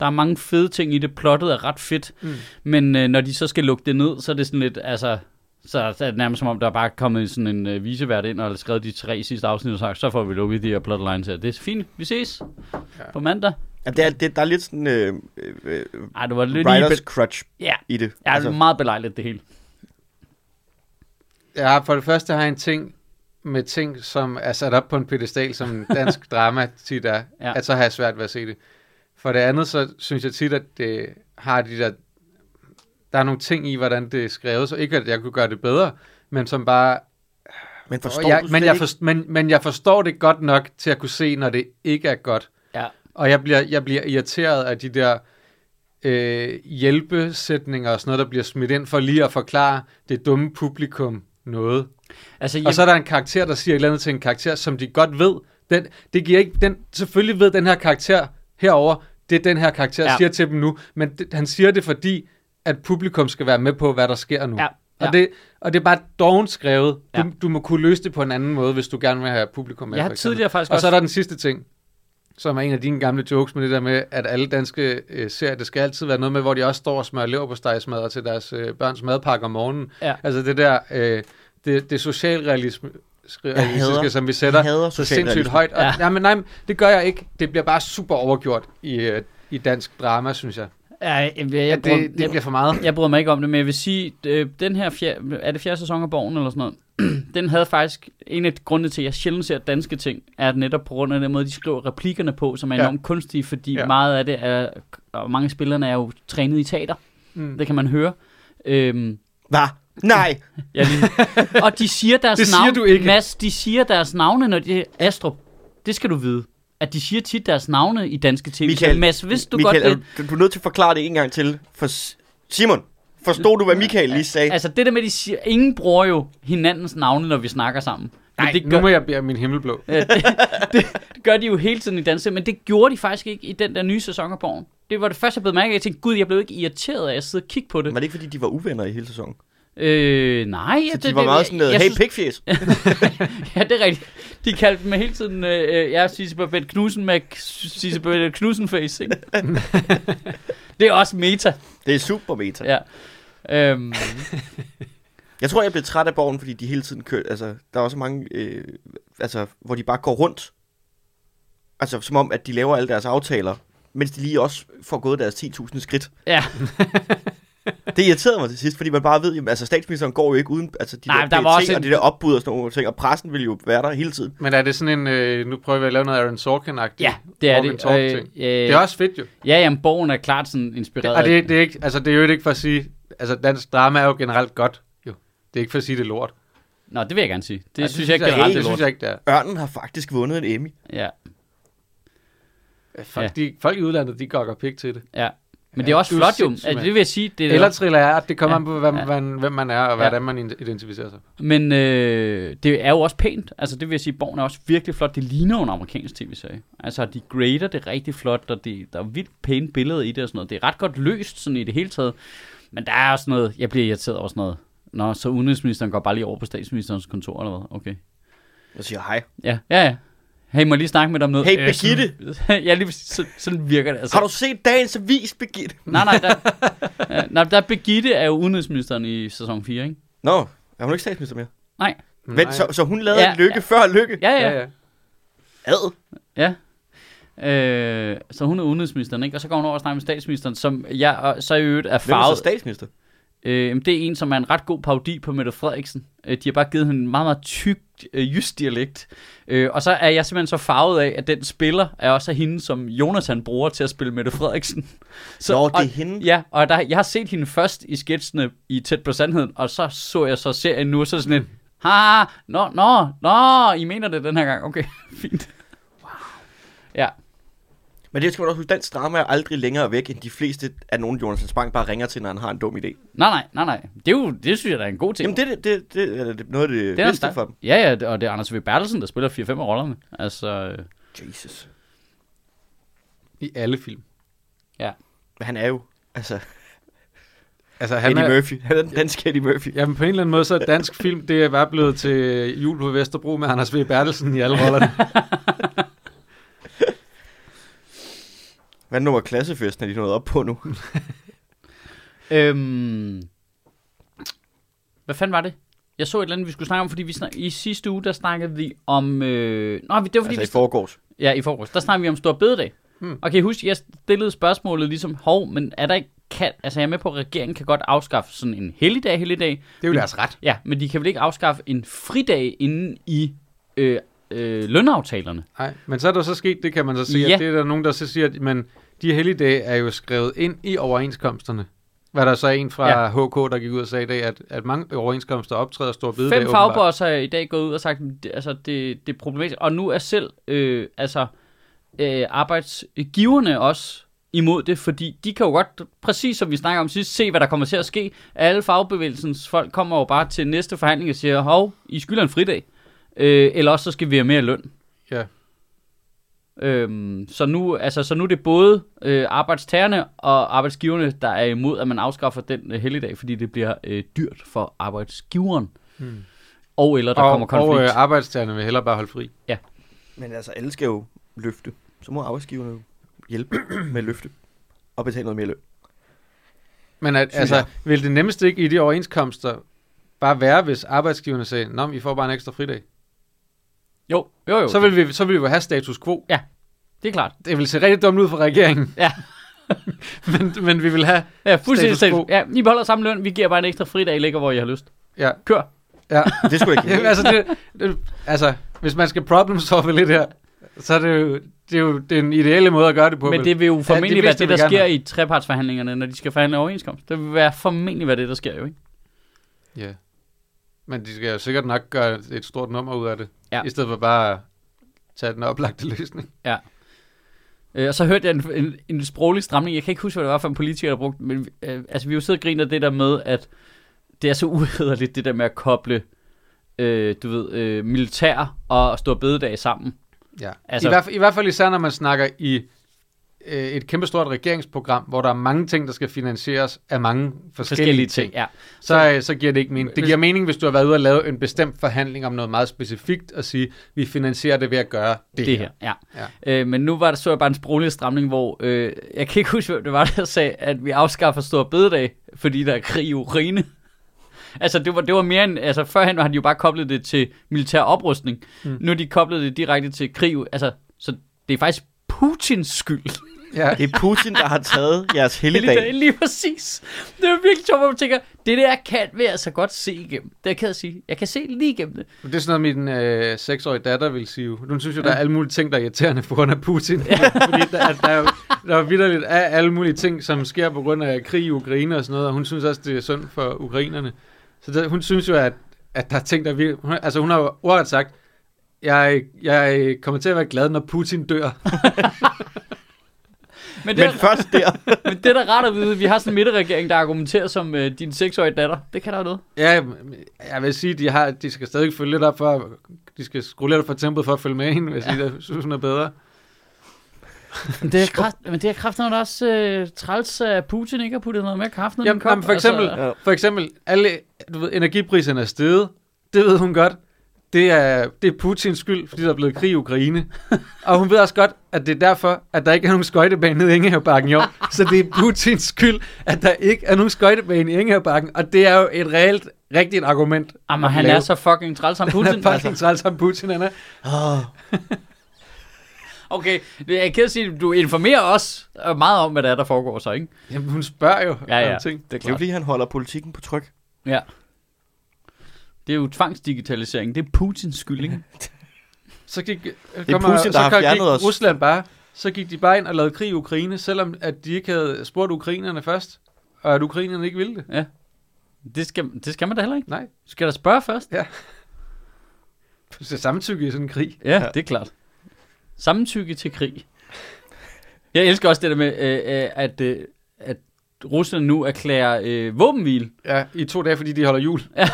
Der er mange fede ting i det. Plottet er ret fedt. Mm. Mm. Men øh, når de så skal lukke det ned, så er det sådan lidt, altså... Så er det nærmest som om, der er bare kommet sådan en øh, visevært ind og har skrevet de tre sidste afsnit og sagt, så får vi lukket de her plotlines her. Det er fint. Vi ses ja. Ja. på mandag. Jamen, det er, det, der er lidt sådan øh, øh, øh, Ej, det var lidt... i writers be- crutch Ja, i det. ja altså. meget belejligt det hele. jeg har, for det første har jeg en ting med ting, som er sat op på en pedestal, som dansk drama tit er, Ja. ja. at så har jeg svært ved at se det. For det andet, så synes jeg tit, at det har de der... Der er nogle ting i, hvordan det er skrevet, så ikke at jeg kunne gøre det bedre, men som bare men forstår Og jeg, du men, slet jeg ikke? forst, men, men jeg forstår det godt nok til at kunne se, når det ikke er godt. Ja. Og jeg bliver, jeg bliver irriteret af de der øh, hjælpesætninger og sådan noget, der bliver smidt ind for lige at forklare det dumme publikum noget. Altså, jeg, Og så er der en karakter, der siger et eller andet til en karakter, som de godt ved. Den, det giver ikke, den, selvfølgelig ved den her karakter herover det den her karakter Ja. ja. siger til dem nu, men det, han siger det, fordi at publikum skal være med på, hvad der sker nu. Ja, ja. Og, det, og det er bare doven skrevet. Du, Ja. du må kunne løse det på en anden måde, hvis du gerne vil have publikum med. jeg har for eksempel. tidligere faktisk Og også... så er der den sidste ting, som er en af dine gamle jokes med det der med, at alle danske øh, serier, det skal altid være noget med, hvor de også står og smører leverpostejsmadder til deres øh, børns madpakke om morgenen. Ja. Altså det der, øh, det, det socialrealisme, realistiske, som vi sætter jeg hader så sindssygt socialrealisme. højt. Og, Ja. ja. nej, men, nej, men det gør jeg ikke. Det bliver bare super overgjort i, øh, i dansk drama, synes jeg. Ja, jeg, jeg, jeg, Ja, jeg, bruger- det, det bliver for meget. Jeg bryder mig ikke om det, men jeg vil sige, øh, den her, fjer- er det fjerde sæson af Borgen eller sådan noget, den havde faktisk, en af grundene til, at jeg sjældent ser danske ting, er netop på grund af den måde, de skriver replikkerne på, som er Ja. enormt kunstige, fordi ja. Ja. meget af det er, og mange af spillerne er jo trænet i teater, Mm. det kan man høre. Øhm, Hva? Nej! jeg lige... og de siger deres Det siger navne, du ikke. Mads, de siger deres navne, når de Astrup, det skal du vide, at de siger tit deres navne i danske tv. Michael, så Mads, hvis du Michael, godt er du, du er nødt til at forklare det en gang til. For S- Simon, forstod du, hvad Michael lige sagde? Altså det der med, at de siger, ingen bruger jo hinandens navne, når vi snakker sammen. Men Nej, det, nu gør, må jeg bære min himmelblå. Ja, det, det, gør de jo hele tiden i dansk, men det gjorde de faktisk ikke i den der nye sæson af Borgen. Det var det første, jeg blev mærke af. Jeg tænkte, gud, jeg blev ikke irriteret af at sidde og kigge på Var det. det ikke, fordi de var uvenner i hele sæsonen? Øh, nej. Så ja, de var meget sådan noget, jeg hey synes- pikfjes. Ja, det er rigtigt. De kaldte mig hele tiden, øh, øh, jeg er Sisse Babette Knudsen med K- Sisse Babette Knudsen-face, ikke? det er også meta, Det er super meta. ja. Øhm, Jeg tror, jeg blev træt af borgen, fordi de hele tiden kørte... Altså, der er også mange... Øh, altså, hvor de bare går rundt. Altså, som om, at de laver alle deres aftaler, mens de lige også får gået deres 10.000 skridt. ja. Det irriterede mig til sidst, fordi man bare ved, jamen, altså statsministeren går jo ikke uden altså, de Nej, der, men der var PET også en- og de der opbud og sådan nogle ting, og pressen vil jo være der hele tiden. Men er det sådan en, øh, nu prøver jeg at lave noget Aaron Sorkin-agtigt? ja, det er Walk and det. talk ting. Øh, øh, Det er også fedt jo. Ja, jamen, Borgen er klart sådan inspireret. Det, og det, det, er ikke, altså, det er jo ikke for at sige, altså dansk drama er jo generelt godt, jo. Det er ikke for at sige, det er lort. Det, Nå, det vil jeg gerne sige. Det, ja, det det synes jeg ikke det generelt, det er Det synes lort. jeg ikke, det er. Ørnen har faktisk vundet en Emmy. Ja, Folk, de, folk i udlandet, de gokker pik til det. ja. Men det er også du er flot jo. sindssyg, Altså, mand. det vil jeg sige. Det er Eller thriller er, at det kommer Ja. ja. an på, hvem, Ja. ja. man, hvem man er, og Ja. hvordan man in- identificerer sig. Men øh, det er jo også pænt. Altså, det vil jeg sige, Borgen er også virkelig flot. Det ligner jo en amerikansk tv-serie. Altså, de grader det rigtig flot, og det, der er vildt pæne billeder i det og sådan noget. Det er ret godt løst sådan i det hele taget. Men der er også noget, jeg bliver irriteret over sådan noget. Nå, så udenrigsministeren går bare lige over på statsministerens kontor eller hvad? Okay. Jeg siger hej. Ja, ja, ja. Hey, må jeg lige snakke med dig om noget? Hey, Øh, sådan- ja, lige præcis. Sådan, sådan virker det. Altså. Har du set dagens avis, Birgitte? Nej, nej, der, ja, nej, der er Birgitte er jo udenrigsministeren i sæson 4, ikke? Nå, er hun ikke statsminister mere? Nej. Vent, så, så hun lavede Ja, ja, lykke ja. ja. før lykke? Ja, ja. Ja, ja. ja. Ad. ja. Øh, så hun er udenrigsministeren, ikke? Og så går hun over og snakker med statsministeren, som jeg og så i øvrigt er Hvem er så farvet. statsminister? Øh, jamen, det er en, som er en ret god parodi på Mette Frederiksen. Øh, de har bare givet hende en meget, meget tyk øh, jysk dialekt. Øh, og så er jeg simpelthen så farvet af, at den spiller er også hende, som Jonathan bruger til at spille Mette Frederiksen. Så, Nå, det er og, hende. Ja, og der, jeg har set hende først i sketsene i Tæt på Sandheden, og så så jeg så serien nu, og så er det sådan lidt, ha, nå, nå, nå, I mener det den her gang. Okay, fint. Ja, Men det skal man også huske, dansk drama er aldrig længere væk, end de fleste af nogen, Jonas Spang bare ringer til, når han har en dum idé. nej, nej, nej, nej. Det, er jo, det synes jeg, der er en god ting. Jamen, det, er det, det, det er det- noget af det, det det er vigtigste stærkt. for dem. Ja, ja, det- og det er Anders V. Bertelsen, der spiller 4-5 af rollerne. Altså, øh, Jesus. I alle film. Men han er jo, altså, Altså, han han Eddie er, er... Murphy. Han er den danske Eddie Murphy. Jamen på en eller anden måde, så er dansk film, det er bare blevet til jul på Vesterbro med Anders V. Bertelsen i alle rollerne. Hvad nummer klassefesten er de nået op på nu? øhm, hvad fanden var det? Jeg så et eller andet, vi skulle snakke om, fordi vi snak- i sidste uge, der snakkede vi om... Øh, nå, vi- det var fordi, altså vi i forgårs. Ja, i forgårs. Der snakker vi om stor bededag. Hmm. Hmm. Og kan I huske, jeg stillede spørgsmålet ligesom, hov, men er der ikke, kan, altså jeg er med på, at regeringen kan godt afskaffe sådan en helligdag, helligdag. Det er jo deres ret. Ja, men de kan vel ikke afskaffe en fridag inden i øh, øh, lønaftalerne? Nej, men så er der så sket, det kan man så se, Ja. ja. at det er der nogen, der så siger, at men de helligdage er jo skrevet ind i overenskomsterne. Hvad der så er en fra Ja. ja. HK, der gik ud og sagde i dag, at, at mange overenskomster optræder store bededag. Fem åbenbart. fagbosser er i dag gået ud og sagt, "Men det- altså det, det er problematisk. Og nu er selv øh, altså, øh, arbejdsgiverne også imod det, fordi de kan jo godt, præcis som vi snakker om sidst, se, hvad der kommer til at ske. Alle fagbevægelsens folk kommer jo bare til næste forhandling og siger, hov, I skylder en fridag, øh, eller også så skal vi have mere løn. Ja. Øhm, så, nu, altså, så nu er det både øh, arbejdstagerne og arbejdsgiverne, der er imod, at man afskaffer den øh, helligdag, fordi det bliver øh, dyrt for arbejdsgiveren. Hmm. Og eller der og, kommer Og, konflikt. og øh, arbejdstagerne vil hellere bare holde fri. Men altså, alle skal jo løfte. Så må arbejdsgiverne jo hjælpe med at løfte. Og betale noget mere løn. Men at, Synes altså, jeg. vil det nemmeste ikke i de overenskomster bare være, hvis arbejdsgiverne sagde, Nå, men I får bare en ekstra fridag? jo, jo, jo. Så vil, vi, så vil vi jo have status quo. Det er klart. det vil se rigtig dumt ud for regeringen. Ja. men, men vi vil have... Ja, fuldstændig Status status. quo. Ja, I beholder samme løn, vi giver bare en ekstra fridag, I ligger, hvor I har lyst. Ja. Kør. ja. Det skulle jeg Jamen, ikke altså, det, det, altså, hvis man skal problem solve lidt her, så er det jo, det er jo det er den ideelle måde at gøre det på. Men vel? det vil jo formentlig de være fleste det, vil der gerne sker have. i trepartsforhandlingerne, når de skal forhandle overenskomst. Det vil være formentlig være det, der sker jo, ikke? Ja. Men de skal jo sikkert nok gøre et stort nummer ud af det, Ja. ja. i stedet for bare at tage den oplagte løsning. Øh, og så hørte jeg en, en, en sproglig stramning. Jeg kan ikke huske, hvad det var for en politiker, der brugte, men øh, altså, vi er jo siddet og griner det der med, at det er så uhederligt, det der med at koble, øh, du ved, øh, militær og stor bededag sammen. Ja. Altså- Altså, I, hvert, fald- I hvert fald især, når man snakker i øh, et kæmpestort regeringsprogram, hvor der er mange ting, der skal finansieres af mange forskellige, forskellige ting. Ja. så, øh, så giver det ikke mening. Det Hvis- giver mening, hvis du har været ude og lave en bestemt forhandling om noget meget specifikt, og sige, vi finansierer det ved at gøre det, det her. Ja. Ja. Øh, men nu var der, så jeg bare en sproglig stramning, hvor øh, jeg kan ikke huske, hvem det var, der sagde, at vi afskaffer stor bededag, fordi der er krig i Ukraine. altså, det var, det var mere end... Altså, førhen har de jo bare koblet det til militær oprustning. Mm. Mm. Nu har de koblet det direkte til krig. Altså, så det er faktisk Putins skyld. Ja. Det er Putin, der har taget jeres helligdag. Helligdag, Lige præcis. Det er virkelig sjovt, hvor man tænker, det der kan vi altså godt se igennem. Det kan jeg sige. Jeg kan se lige igennem det. Det er sådan noget, min øh, 6-årige datter vil sige. Hun synes jo, der er alle mulige ting, der er irriterende på grund af Putin. Fordi der, er- der, er jo, der er vidderligt af alle mulige ting, som sker på grund af krig i Ukraine og sådan noget, og hun synes også, det er synd for ukrainerne. Så der, hun synes jo, at, at der er ting, der vil... Hun, altså hun har jo ordret sagt, jeg, jeg kommer til at være glad, når Putin dør. Men det, Men først der. Men det er da rart at vide. Vi har sådan en midterregering, der argumenterer som øh, din seksårige datter. Det kan der jo noget. Ja, men jeg vil sige, de, har, de skal stadig følge lidt op for, de skal skrue lidt op for tempoet for at følge med hende, hvis ja. de synes, hun er bedre. Men det er, kraft, men det er kraft, når der også øh, træls af Putin ikke har puttet noget mere kraft ned i Jamen, den kop. jamen, for eksempel, Altså, for eksempel, alle, du ved, energipriserne er steget, det ved hun godt. det er, det er Putins skyld, fordi der er blevet krig i Ukraine. og hun ved også godt, at det er derfor, at der ikke er nogen skøjtebane nede i Ingehavebakken i år. Så det er Putins skyld, at der ikke er nogen skøjtebane i Ingehavebakken. Og det er jo et reelt, rigtigt argument. Jamen, at ah, han lave. er så fucking træls som Putin. Altså, Han er fucking altså. træls som Putin, han er. Okay, jeg er ked af at sige, du informerer os øh, meget om, hvad der er, der foregår så, ikke? Jamen, hun spørger jo Ja, ja. om ting. Det er Det er jo fordi, han holder politikken på tryk. Ja. Det er jo tvangsdigitalisering. Det er Putins skyld, ikke? Så gik, øh, er kommer- Putin, der så har gik fjernet os. Rusland bare, så gik de bare ind og lavede krig i Ukraine, selvom at de ikke havde spurgt ukrainerne først, og at ukrainerne ikke ville det. Det skal, det skal man da heller ikke. Nej, Du skal da spørge først. du skal samtykke i sådan en krig. Ja, ja. det er klart. Samtykke til krig. Jeg elsker også det der med, øh, øh, at, øh, at Rusland nu erklærer øh, våbenhvile. Ja, i to dage, fordi de holder jul. Ja.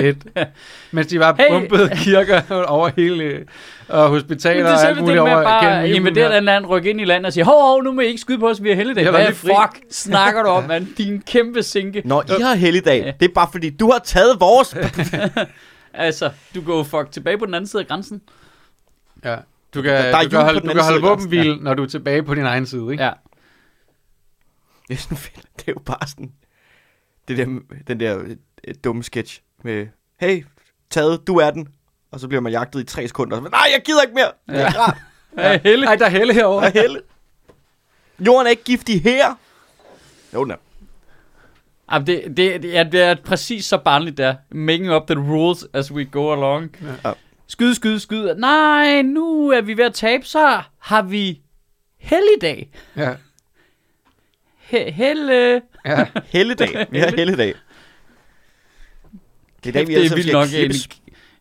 Fedt. Mens de bare Hey. hey. pumpede kirker over hele, øh, og hospitaler Men og det er selv alt det muligt der med over bare gennem at julen invadere et her. andet land, rykke ind i landet og sige, hov, hov, nu må I ikke skyde på os, vi har heldigdag. Jeg var Hvad lige fri. fuck snakker du om, mand? Din kæmpe sinke. Når I har Ja. helligdag, det er bare fordi, du har taget vores. Altså, du går jo fuck tilbage på den anden side af grænsen. Ja. Der- der Du kan, er du jul kan på holde, den du anden kan holde side af grænsen, våbenhvile, når du er tilbage på din egen side. Ikke? Ja. Det er, sådan, fedt. det er jo bare sådan, det der, den der øh, øh, dumme sketch med, hey, taget, du er den. Og så bliver man jagtet i tre sekunder. Og så, Nej, jeg gider ikke mere. Ja. Ja. Ja. Helle. Ej, der er helle herovre. Og helle. Jorden er ikke giftig her. Jo, den er. Ej, men det, det, det, ja, det er præcis så barnligt der. Making up the rules as we go along. Ja. Ja. Skyde, skyde, skyde. Nej, nu er vi ved at tabe, så har vi helligdag. Ja. He- helle. Ja. Helligdag. Vi har helligdag. Det er dag, vi det alle er sammen vildt skal nok en, klippes.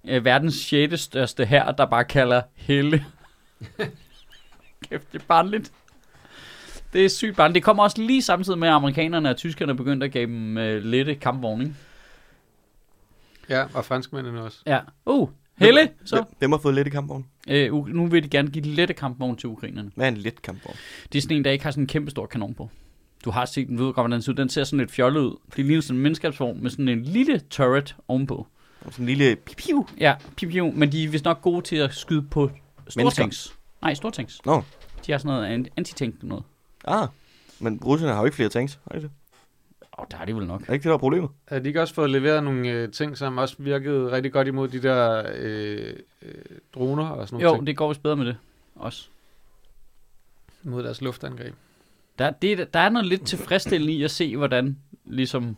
øh, verdens sjette største her, der bare kalder helle. Kæft, det er barnligt. Det er sygt barnligt. Det kommer også lige samtidig med, at amerikanerne og tyskerne begyndte at give dem øh, lette kampvogning. ja, og franskmændene også. Ja. Uh, helle. Så. Hvem- Hvem har fået lidt i kampvogn? Øh, u- nu vil de gerne give lette kampvogn til ukrainerne. Hvad er en let kampvogn? Det er sådan en, der ikke har sådan en kæmpe stor kanon på. Du har set den, ved du godt, hvordan den ser ud. Den ser sådan lidt fjollet ud. Det ligner sådan en menneskabsvogn med sådan en lille turret ovenpå. Sådan en lille pipiu. Ja, piu, piu, men de er vist nok gode til at skyde på Mennesker. stortænks. Nej, stortænks. Nå. De har sådan noget an- antitank noget. Ah, men russerne har jo ikke flere tanks. Har de det? Åh, oh, der er de vel nok. Er det ikke det, der er problemet? Havde de ikke også fået leveret nogle øh, ting, som også virkede rigtig godt imod de der øh, øh, droner og sådan nogle Jo, ting? det går vist bedre med det også. Mod deres luftangreb. Der, det, der er noget lidt tilfredsstillende i at se, hvordan ligesom,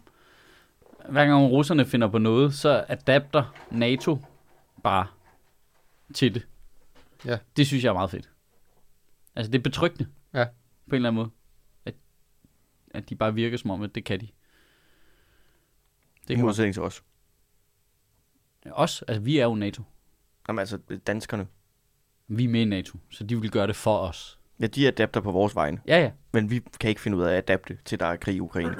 hver gang russerne finder på noget, så adapter NATO bare til det. Ja. Det synes jeg er meget fedt. Altså, det er betryggende. Ja. På en eller anden måde. At, at de bare virker som om, at det kan de. Det Det er kan også. modsætning til os. Også, altså vi er jo NATO. Jamen altså, danskerne. Vi er med i NATO, så de vil gøre det for os. Ja, de adapter på vores vegne, Ja, ja. men vi kan ikke finde ud af at adapte til, der er krig i Ukraine.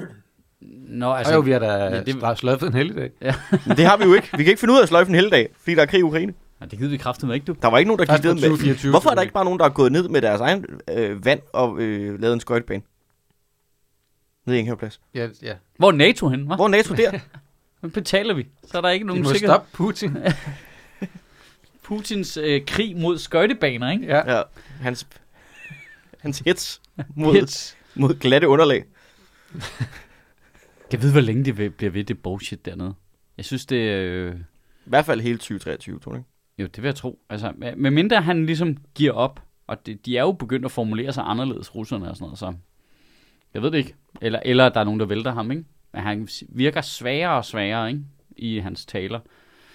Nå, Altså, altså, og jo, vi har da ja, ja, det- det... slået en heldig dag. Men det har vi jo ikke. Vi kan ikke finde ud af at sløjfe en hel dag, fordi der er krig i Ukraine. nej, det gider vi kraftigt med, ikke du? Der var ikke nogen, der Ej, gik ned fra med. 2024 Hvorfor er der selvfølgelig. ikke bare nogen, der er gået ned med deres egen øh, vand og øh, lavet en skøjtebane? Nede i Enghavplads. Ja, ja. Hvor er NATO henne, hva'? Hvor er NATO der? Nu betaler vi, så er der ikke De nogen må sikkerhed. stoppe Putin. Putins øh, krig mod skøjtebaner, ikke? Ja. Ja, hans, hans hits mod, Hits. mod glatte underlag. Jeg ved, hvor længe det vil- bliver ved, det bullshit dernede. Jeg synes, det øh, I hvert fald hele 2023, tror jeg. ikke? Jo, det vil jeg tro. Altså, med mindre han ligesom giver op, og det, de er jo begyndt at formulere sig anderledes, russerne og sådan noget, så jeg ved det ikke. Eller, eller der er nogen, der vælter ham, ikke? Men han virker svagere og svagere, ikke? I hans taler.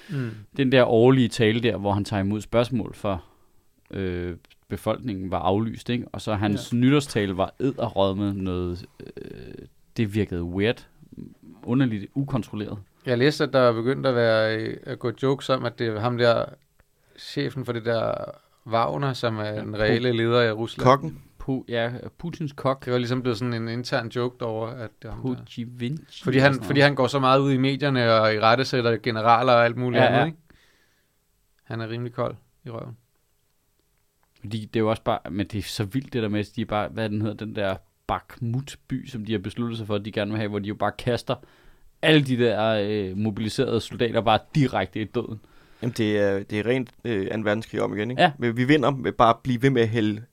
Mm. den der årlige tale der, hvor han tager imod spørgsmål for øh, befolkningen, var aflyst, ikke? Og så hans ja. nytårstale var æderrød med noget... Øh, det virkede weird, underligt, ukontrolleret. Jeg læste, at der var begyndt at, være, øh, at gå jokes om, at det er ham der, chefen for det der Wagner, som er den reelle leder i Rusland. Kokken. Pu- ja, Putins kok, Det var ligesom blevet sådan en intern joke derovre, at det var ham der. Puji Vinci. Fordi han, fordi han går så meget ud i medierne og i rettesætter generaler og alt muligt Ja, ja, ja. andet, ikke? Han er rimelig kold i røven. fordi det er jo også bare... Men det er så vildt det der med, at de er bare... Hvad den hedder, den der Bakhmut-by, som de har besluttet sig for, at de gerne vil have, hvor de jo bare kaster alle de der øh, mobiliserede soldater bare direkte i døden. Jamen, det er, det er rent øh, 2. verdenskrig om igen, ikke? Ja. Men vi vinder med bare at blive ved med at hælde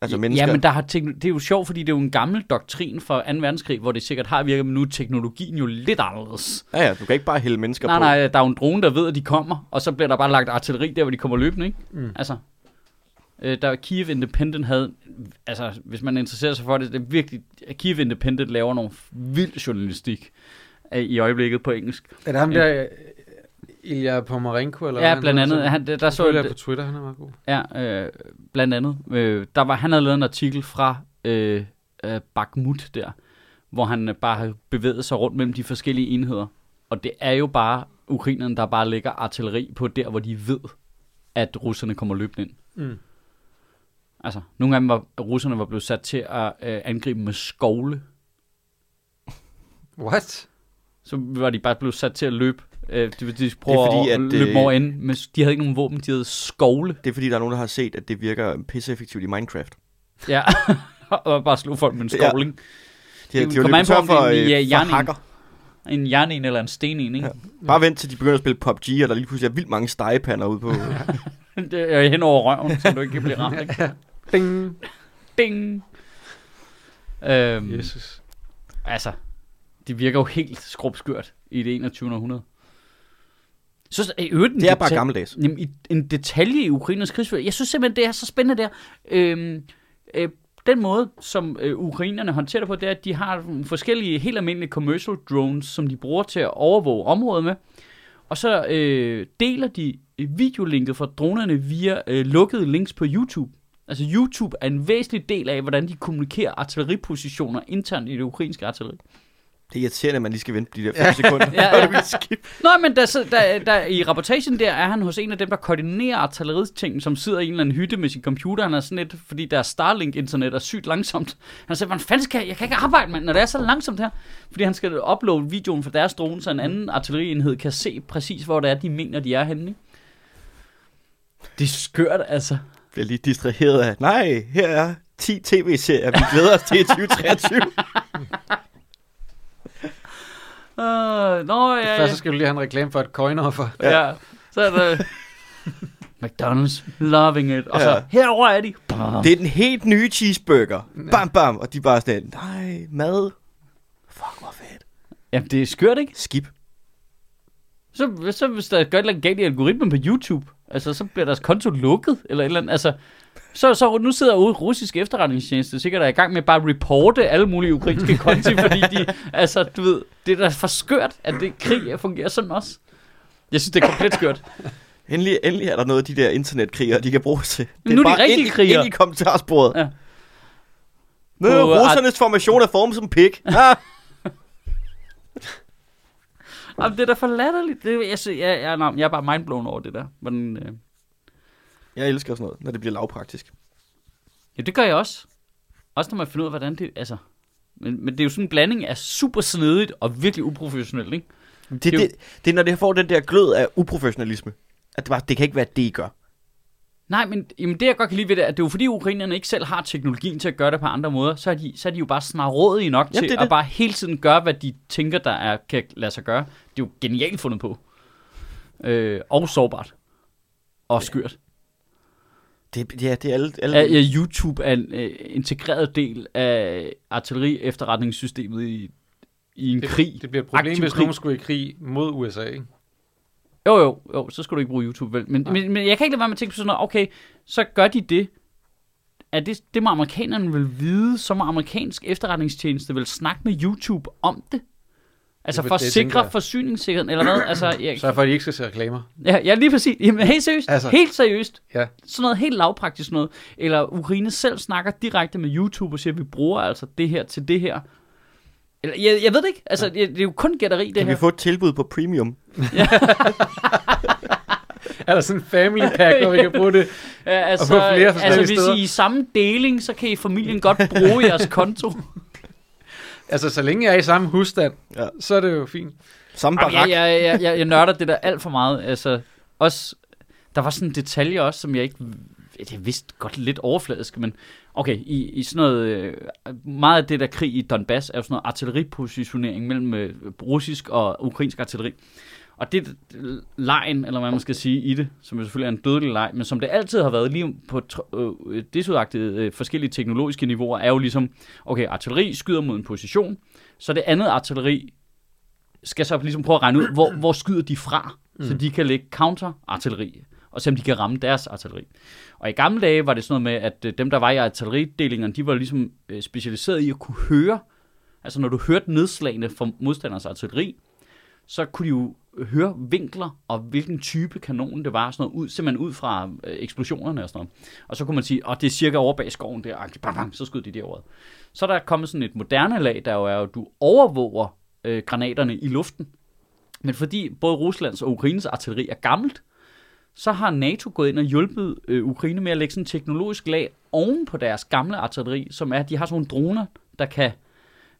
altså, mennesker. Ja, men der har tekno- det er jo sjovt, fordi det er jo en gammel doktrin fra 2. verdenskrig, hvor det sikkert har virket, men nu er teknologien jo lidt anderledes. ja, ja, du kan ikke bare hælde mennesker Nej, på. nej, der er jo en drone, der ved, at de kommer, og så bliver der bare lagt artilleri der, hvor de kommer løbende, ikke? Mm. Altså, øh, der Kiev Independent havde, altså, hvis man interesserer sig for det, det er virkelig, Kiev Independent laver nogle vild journalistik øh, i øjeblikket på engelsk. Er det ham Ja. der, øh, Ilya Pomarenko? Eller hvad Ja, han blandt hedder? andet, han, der, der Så så følger et, jeg på Twitter, han er meget god. Ja, øh, blandt andet. Øh, der var, han havde lavet en artikel fra øh, øh, Bakhmut der, hvor han øh, bare har bevæget sig rundt mellem de forskellige enheder. Og det er jo bare ukrainerne, der bare lægger artilleri på der, hvor de ved, at russerne kommer løbende ind. Mm. Altså, nogle gange var russerne var blevet sat til at øh, angribe med skovle. What? Så var de bare blevet sat til at løbe. Øh, de, de Det prøver er fordi, at, at, løbe øh, øh... over ende, men de havde ikke nogen våben, de havde skovle. Det er fordi, der er nogen, der har set, at det virker pisseeffektivt i Minecraft. Ja, og bare slog folk med en Ja. skovling. De, Det de kommer an på, om for, det er en, ja, øh, jerning. for hakker. En jernen eller en stenen, ikke? Bare vent til de begynder at spille PUBG, og der lige pludselig er vildt mange stegepander ude på. Ja. det er hen over røven, så du ikke kan blive ramt, ikke? Ding. Ding! Øhm, yes. Jesus. Altså, det virker jo helt skrubskørt i det 21. århundrede. Så i øvrigt, en det er bare detal- gammeldags. Jamen, i- en detalje i Ukraines krigsførelse. Jeg synes simpelthen, det er så spændende der. Øhm, øh, den måde, som øh, ukrainerne håndterer det på, det er, at de har nogle forskellige helt almindelige commercial drones, som de bruger til at overvåge området med. Og så øh, deler de øh, videolinket fra dronerne via øh, lukkede links på YouTube. Altså YouTube er en væsentlig del af, hvordan de kommunikerer artilleripositioner internt i det ukrainske artilleri. Det er irriterende, at man lige skal vente de der 5 sekunder. Ja, ja. før det bliver skidt. Nå, men der, sid- der, der, i rapportagen der er han hos en af dem, der koordinerer artilleristing, som sidder i en eller anden hytte med sin computer. Han er sådan lidt, fordi der Starlink-internet er sygt langsomt. Han siger, hvordan fanden skal jeg? Jeg kan ikke arbejde, mand, når det er så langsomt her. Fordi han skal uploade videoen fra deres drone, så en anden artillerienhed kan se præcis, hvor det er, de mener, de er henne. Ikke? Det er skørt, altså. bliver lige distraheret af, nej, her er 10 tv-serier, vi glæder os til i 2023. Uh, nå, ja, ja. Først så skal du lige have en reklame for et coinoffer. ja. Så er der... McDonald's, loving it. Og så, Ja. herover er de. Det er den helt nye cheeseburger. Bam, bam. Og de er bare sådan, nej, mad. Fuck, hvor fedt. Jamen, det er skørt, ikke? Skip. Så, så hvis der gør et eller andet galt i algoritmen på YouTube, altså så bliver deres konto lukket, eller et eller andet, altså... Så, så nu sidder ude russisk efterretningstjeneste sikkert er i gang med bare at reporte alle mulige ukrainske konti, fordi de, altså, du ved, det er da for skørt, at det krig fungerer sådan også. Jeg synes, det er komplet skørt. Endelig, endelig er der noget af de der internetkrigere, de kan bruge til. Det nu er de rigtige ind, i- krigere. Ind i kommentarsporet. Ja. Ja. Nu er På, øh, russernes formation er formet som pik. Ah, Jamen, det er da for latterligt. Det, jeg, jeg, jeg, jeg, nej, jeg er bare mindblown over det der. Men, øh, jeg elsker sådan noget, når det bliver lavpraktisk. ja, det gør jeg også. Også når man finder ud af, hvordan det... Altså, men, men det er jo sådan en blanding af super snedigt og virkelig uprofessionelt, ikke? Det, Det er det, jo- det, det er, når det får den der glød af uprofessionalisme. At det, bare, det kan ikke være, det I gør. Nej, men jamen det jeg godt kan lide ved det, er, at det er jo fordi ukrainerne ikke selv har teknologien til at gøre det på andre måder, så er de, så er de jo bare snarådige nok Ja, til det er at det. bare hele tiden gøre, hvad de tænker, der er, kan lade sig gøre. Det er jo genialt fundet på. Øh, og sårbart. Og skørt. Det, ja, det er alle... alle Ja, ja, YouTube er en øh, integreret del af artilleri-efterretningssystemet i, i en Det, krig. det bliver et problem, Aktiv hvis krig. nogen skulle i krig mod USA. Ikke? Jo, jo, jo, så skulle du ikke bruge YouTube, vel? Men, Nej. men, men jeg kan ikke lade være med at tænke på sådan noget, okay, så gør de det. Er det, det må amerikanerne vil vide, så må amerikansk efterretningstjeneste vil snakke med YouTube om det. Altså Det- for at det sikre tænker jeg. forsyningssikkerheden, eller hvad? Altså, jeg, Så for, at de ikke skal se reklamer. ja, ja, lige præcis. Jamen, helt seriøst. Altså, Altså- helt seriøst. Ja. Sådan noget helt lavpraktisk noget. Eller Ukraine selv snakker direkte med YouTube og siger, at vi bruger altså det her til det her. Eller, jeg, jeg ved det ikke. Altså, jeg, det er jo kun gætteri, det kan her. vi få et tilbud på premium? Er der sådan en family pack, hvor vi kan bruge det? Ja, altså, på flere forskellige altså hvis steder. I er i samme deling, så kan I familien godt bruge jeres konto. Altså, så længe jeg er i samme husstand, Ja. så er det jo fint. Samme Jamen, barak. jeg, jeg, jeg, jeg, jeg nørder det der alt for meget. Altså, også, der var sådan en detalje også, som jeg ikke jeg vidste godt lidt overfladisk, men okay, i, i sådan noget, øh, meget af det der krig i Donbass er jo sådan noget artilleripositionering mellem øh, russisk og ukrainsk artilleri. Og det er lejen, eller hvad man skal sige i det, som jo selvfølgelig er en dødelig leg, men som det altid har været lige på tr- øh, desudagtige øh, forskellige teknologiske niveauer, er jo ligesom, okay, artilleri skyder mod en position, så det andet artilleri skal så ligesom prøve at regne ud, hvor, hvor skyder de fra, mm. så de kan lægge counter-artilleri, og se om de kan ramme deres artilleri. Og i gamle dage var det sådan noget med, at øh, dem, der var i artilleridelingerne, de var ligesom øh, specialiseret i at kunne høre, altså når du hørte nedslagene fra modstanders artilleri, så kunne de jo høre vinkler og hvilken type kanon det var, sådan noget, ud, simpelthen ud fra øh, eksplosionerne og sådan noget. Og så kunne man sige, at det er cirka over bag skoven der, agtigt, bang, bang, så skød de derovre. Så er der kommet sådan et moderne lag, der jo er, at du overvåger øh, granaterne i luften. Men fordi både Ruslands og Ukraines artilleri er gammelt, så har NATO gået ind og hjulpet øh, Ukraine med at lægge sådan en teknologisk lag oven på deres gamle artilleri, som er, at de har sådan nogle droner, der kan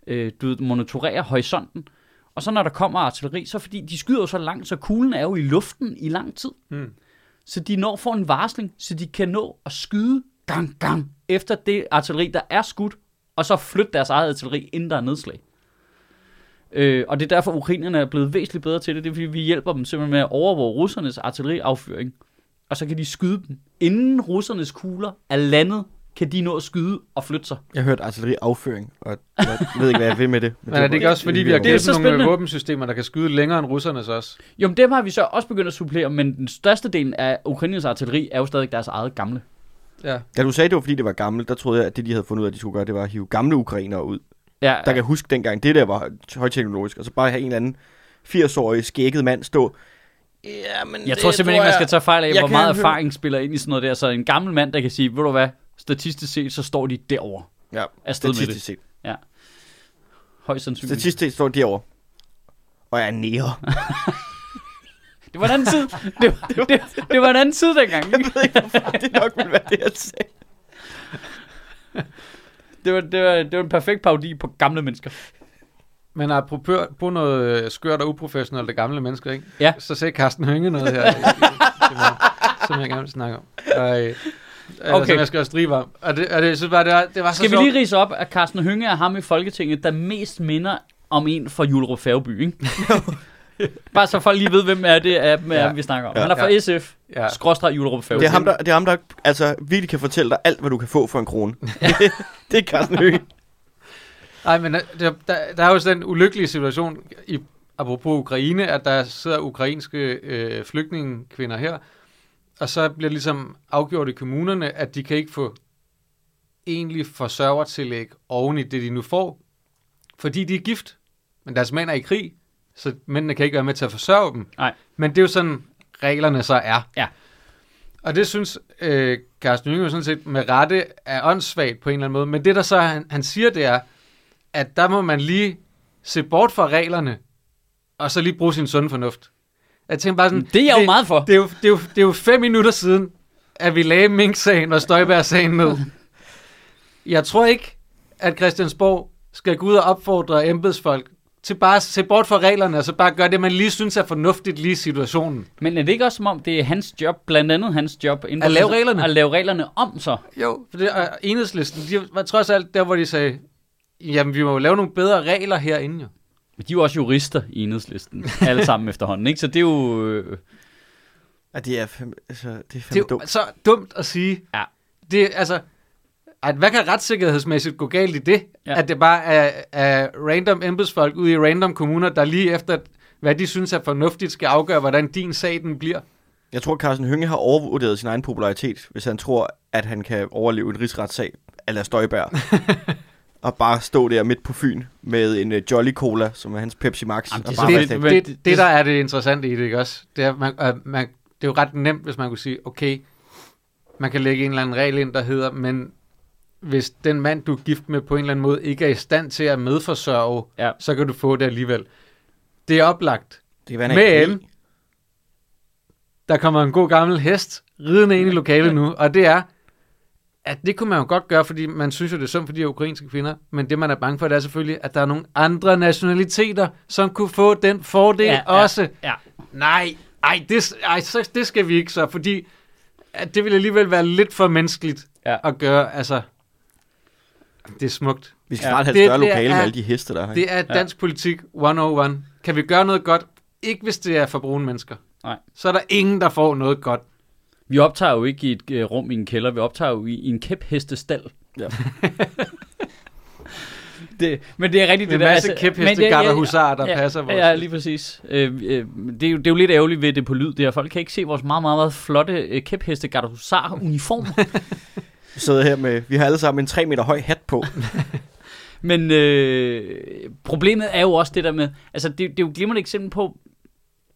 øh, du ved, monitorere horisonten. Og så når der kommer artilleri, så fordi de skyder jo så langt, så kuglen er jo i luften i lang tid. Mm. Så de når får en varsling, så de kan nå at skyde gang, gang efter det artilleri, der er skudt, og så flytte deres eget artilleri, inden der er nedslag. Øh, og det er derfor, ukrainerne er blevet væsentligt bedre til det. Det er, fordi vi hjælper dem simpelthen med at overvåge russernes artilleriaffyring. Og så kan de skyde dem. Inden russernes kugler er landet, kan de nå at skyde og flytte sig. Jeg hørte artilleriafføring, og jeg ved ikke, hvad jeg vil med det. Men er det ikke også, fordi vi har Det er givet så dem nogle øh, spændende. våbensystemer, der kan skyde længere end russernes også? Jo, men dem har vi så også begyndt at supplere, men den største del af Ukraines artilleri er jo stadig deres eget gamle. Ja. Da du sagde, det var fordi, det var gammelt, der troede jeg, at det, de havde fundet ud af, at de skulle gøre, det var at hive gamle ukrainere ud. Ja, Der kan jeg huske dengang, det der var højteknologisk, og så bare have en eller anden 80-årig skægget mand stå. Ja, men jeg tror simpelthen ikke, man skal tage fejl af, jeg hvor kan meget høre- erfaring spiller ind i sådan noget der. Så en gammel mand, der kan sige, ved du hvad, statistisk set, så står de derovre. Ja, Afsted med statistisk det. set. Højst sandsynligt. Statistisk set står de derovre. Og jeg er nære. Det var en anden tid. Det, det, det, det var en anden tid dengang. ikke? det nok ville være det, jeg sagde. Det var, det, var, det var en perfekt parodi på gamle mennesker. Men apropos på noget øh, skørt og uprofessionelt af gamle mennesker, ikke? Ja. Så sagde Carsten Hønge noget her, øh, til mig, som jeg gerne vil snakke om. Og, øh, okay. Okay. Som jeg skal også drive om. Og det, og det, jeg synes bare, det var, det var så Skal vi sjovt. lige rise op, at Carsten Hønge er ham i Folketinget, der mest minder om en fra Julerup Færgeby, ikke? Bare så folk lige ved, hvem er det, er, er, Ja. ja. vi snakker om. Ja. Han er fra Ja. SF, Ja. ja. skråstreg Julerup Færgeby. Det er ham, der, det er ham, der altså, virkelig kan fortælle dig alt, hvad du kan få for en krone. det er Carsten Høgh. Nej, men øh, der, der, der er jo sådan den ulykkelige situation, i, apropos Ukraine, at der sidder ukrainske øh, flygtningekvinder her, og så bliver det ligesom afgjort i kommunerne, at de kan ikke få egentlig forsørgertillæg oven i det, de nu får, fordi de er gift, men deres mænd er i krig, så mændene kan ikke være med til at forsørge dem. Nej. Men det er jo sådan, reglerne så er. Ja. Og det synes øh, Carsten Jynge jo sådan set med rette er åndssvagt på en eller anden måde. Men det, der så han, han siger, det er, at der må man lige se bort fra reglerne, og så lige bruge sin sunde fornuft. Jeg tænker bare sådan, Mm. Det er jeg jo meget for. det er jo, det, er jo, det er jo fem minutter siden, at vi lagde Mink-sagen og Støjbær-sagen ned. Jeg tror ikke, at Christiansborg skal gå ud og opfordre embedsfolk til bare at se bort fra reglerne, og så bare gøre det, man lige synes er fornuftigt lige i situationen. Men er det ikke også som om, det er hans job, blandt andet hans job, inden At for- lave reglerne? At lave reglerne om så. Jo. For det, og enhedslisten, de var trods alt der, hvor de sagde, jamen vi må jo lave nogle bedre regler herinde jo. Men de er jo også jurister i enhedslisten, alle sammen efterhånden, ikke? Så det er jo... Øh, Ja, det er fem, altså, det er Det er fandme jo dumt. så dumt at sige. Ja. Det, er- altså, at hvad kan retssikkerhedsmæssigt gå galt i det? Ja. Ja. At det bare er, er random embedsfolk ude i random kommuner, der lige efter, hvad de synes er fornuftigt, skal afgøre, hvordan din sag den bliver. Jeg tror, Carsten Hønge har overvurderet sin egen popularitet, hvis han tror, at han kan overleve en rigsretssag ala Støjbær. og bare stå der midt på Fyn med en uh, Jolly Cola, som er hans Pepsi Max. Jamen, det og er bare så være fedt. sådan, det, men det, det- det, det, der er det interessante i det, ikke også? Det er, man, øh, man, det er jo ret nemt, hvis man kunne sige, okay, man kan lægge en eller anden regel ind, der hedder, men hvis den mand, du er gift med på en eller anden måde, ikke er i stand til at medforsørge, Ja. så kan du få det alligevel. Det er oplagt. det kan være, han er i Men- krig. Der kommer en god gammel hest ridende ind i lokalet nu, og det er, at det kunne man jo godt gøre, fordi man synes jo, det er synd for de her ukrainske kvinder, men det man er bange for, det er selvfølgelig, at der er nogle andre nationaliteter, som kunne få den fordel ja, Ja, ja. også. ja. Nej, ej, det, ej så, det skal vi ikke så, fordi at det vil alligevel være lidt for menneskeligt Ja. at gøre, altså... Det er smukt. Vi skal Ja, snart have det- et større det lokale er- med alle de heste, der er. Det, Det er dansk politik 101. Kan vi gøre noget godt? Ikke hvis det er for brune mennesker. Nej. Så er der ingen, der får noget godt. Vi optager jo ikke i et øh, rum i en kælder, vi optager jo i, i en kæphestestal. Ja. det, men det er rigtigt, Med det der. altså, masse kæpheste, men det- garder, husarer, der ja, passer vores- Ja, lige præcis. Øh, øh, det, er jo, det er jo lidt ærgerligt ved det på lyd, det her. Folk kan ikke se vores meget, meget, meget flotte øh, kæpheste garder, husarer, uniform. Vi sidder her med, vi har alle sammen en 3 meter høj hat på. Men øh, problemet er jo også det der med, altså det, det er jo et glimrende eksempel på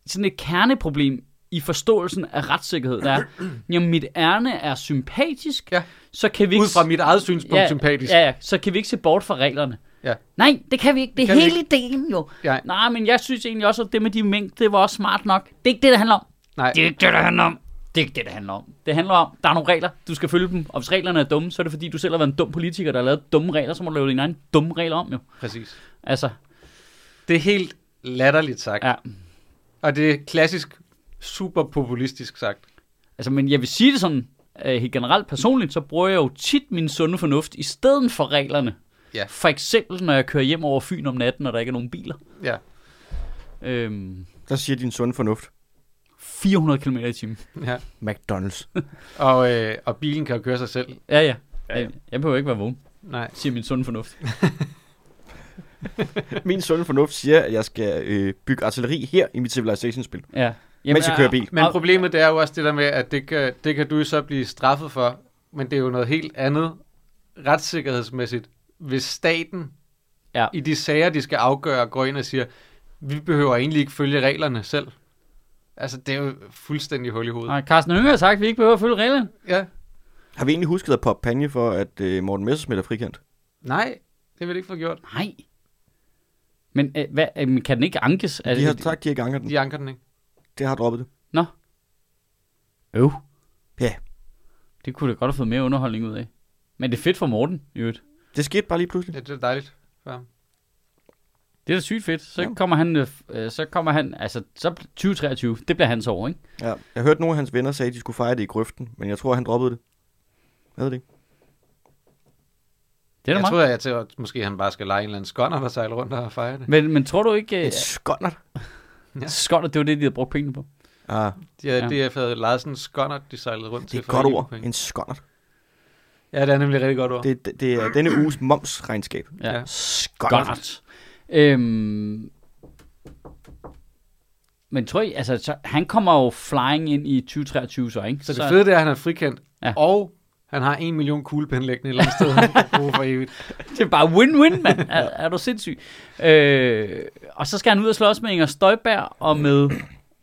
sådan et kerneproblem i forståelsen af retssikkerhed, der er, jamen mit ærne er sympatisk, Ja. så kan vi ikke... Ud fra mit eget synspunkt ja, sympatisk. Ja, ja, så kan vi ikke se bort fra reglerne. Ja. Nej, det kan vi ikke. Det er kan vi hele ideen jo. Ja. Nej, men jeg synes egentlig også, at det med de mængde, det var også smart nok. Det er ikke det, det handler om. Nej. Det er ikke det, det handler om. Det er ikke det, det handler om. Det handler om, der er nogle regler. Du skal følge dem. Og hvis reglerne er dumme, så er det fordi, du selv har været en dum politiker, der har lavet dumme regler, så må du lave dine egne dumme regler om jo. Præcis. Altså, Det er helt latterligt sagt. ja. Og det er klassisk super populistisk sagt. Altså, men jeg vil sige det sådan, øh, helt generelt personligt, så bruger jeg jo tit min sunde fornuft i stedet for reglerne. Ja. For eksempel, når jeg kører hjem over Fyn om natten, og der ikke er nogen biler. Ja. Øhm, Der siger din sunde fornuft. 400 km i timen. ja. McDonald's. Og, øh, og bilen kan jo køre sig selv. Ja, ja. Ja, ja. Jeg, jeg behøver ikke være vågen, Nej. siger min sunde fornuft. Min sunde fornuft siger, at jeg skal øh, bygge artilleri her i mit Civilization-spil, Ja. mens jeg kører bil. Men Og- problemet det er jo også det der med, at det kan, det kan du jo så blive straffet for, men det er jo noget helt andet retssikkerhedsmæssigt, hvis staten Ja. i de sager, de skal afgøre, går ind og siger, vi behøver egentlig ikke følge reglerne selv. Altså, det er jo fuldstændig hul i hovedet. Nej, Carsten Hønge har sagt, at vi ikke behøver at følge reglerne. Ja. Har vi egentlig husket at poppe panje for, at øh, Morten Messerschmidt er frikendt? Nej, det vil jeg ikke få gjort. Nej. Men øh, hvad, øh, men kan den ikke ankes? De har sagt, de ikke anker den. De anker den ikke. Det har droppet det. Nå. Øv. Ja. Det kunne da godt have fået mere underholdning ud af. Men det er fedt for Morten, i øvrigt. Det skete bare lige pludselig. Ja, det er dejligt. for ham. Det er da sygt fedt. Så Ja. kommer han, øh, f- øh, så kommer han, altså, så 2023, det bliver hans år, ikke? Ja. Jeg hørte nogle af hans venner sige, at de skulle fejre det i grøften, men jeg tror, han droppede det. Jeg ved det ikke. Det er da jeg meget. tror, jeg til, at måske han bare skal lege en eller anden skånder, der sejler rundt og fejrer det. Men, men tror du ikke, En øh, skåndert. Ja. skot, at det var det, de havde brugt pengene på? Ah, De havde, Ja. ja. DF havde lejet sådan en skånder, de sejlede rundt det til. er et for at godt give ord. dem En skåndert. penge. Ja, det er nemlig et rigtig godt ord. Det, det, det er denne uges momsregnskab. Ja. Ja. Skåndert. Godt. Øhm, men tror I, altså, så, han kommer jo flying ind i 2023 så, ikke? Så det fede det er, at han er frikendt, Ja. ja. og han har en million kuglepen liggende et eller andet sted, han kan bruge for evigt. det er bare win-win, mand. Er, er du sindssyg? Øh, og så skal han ud og slås med Inger Støjberg og med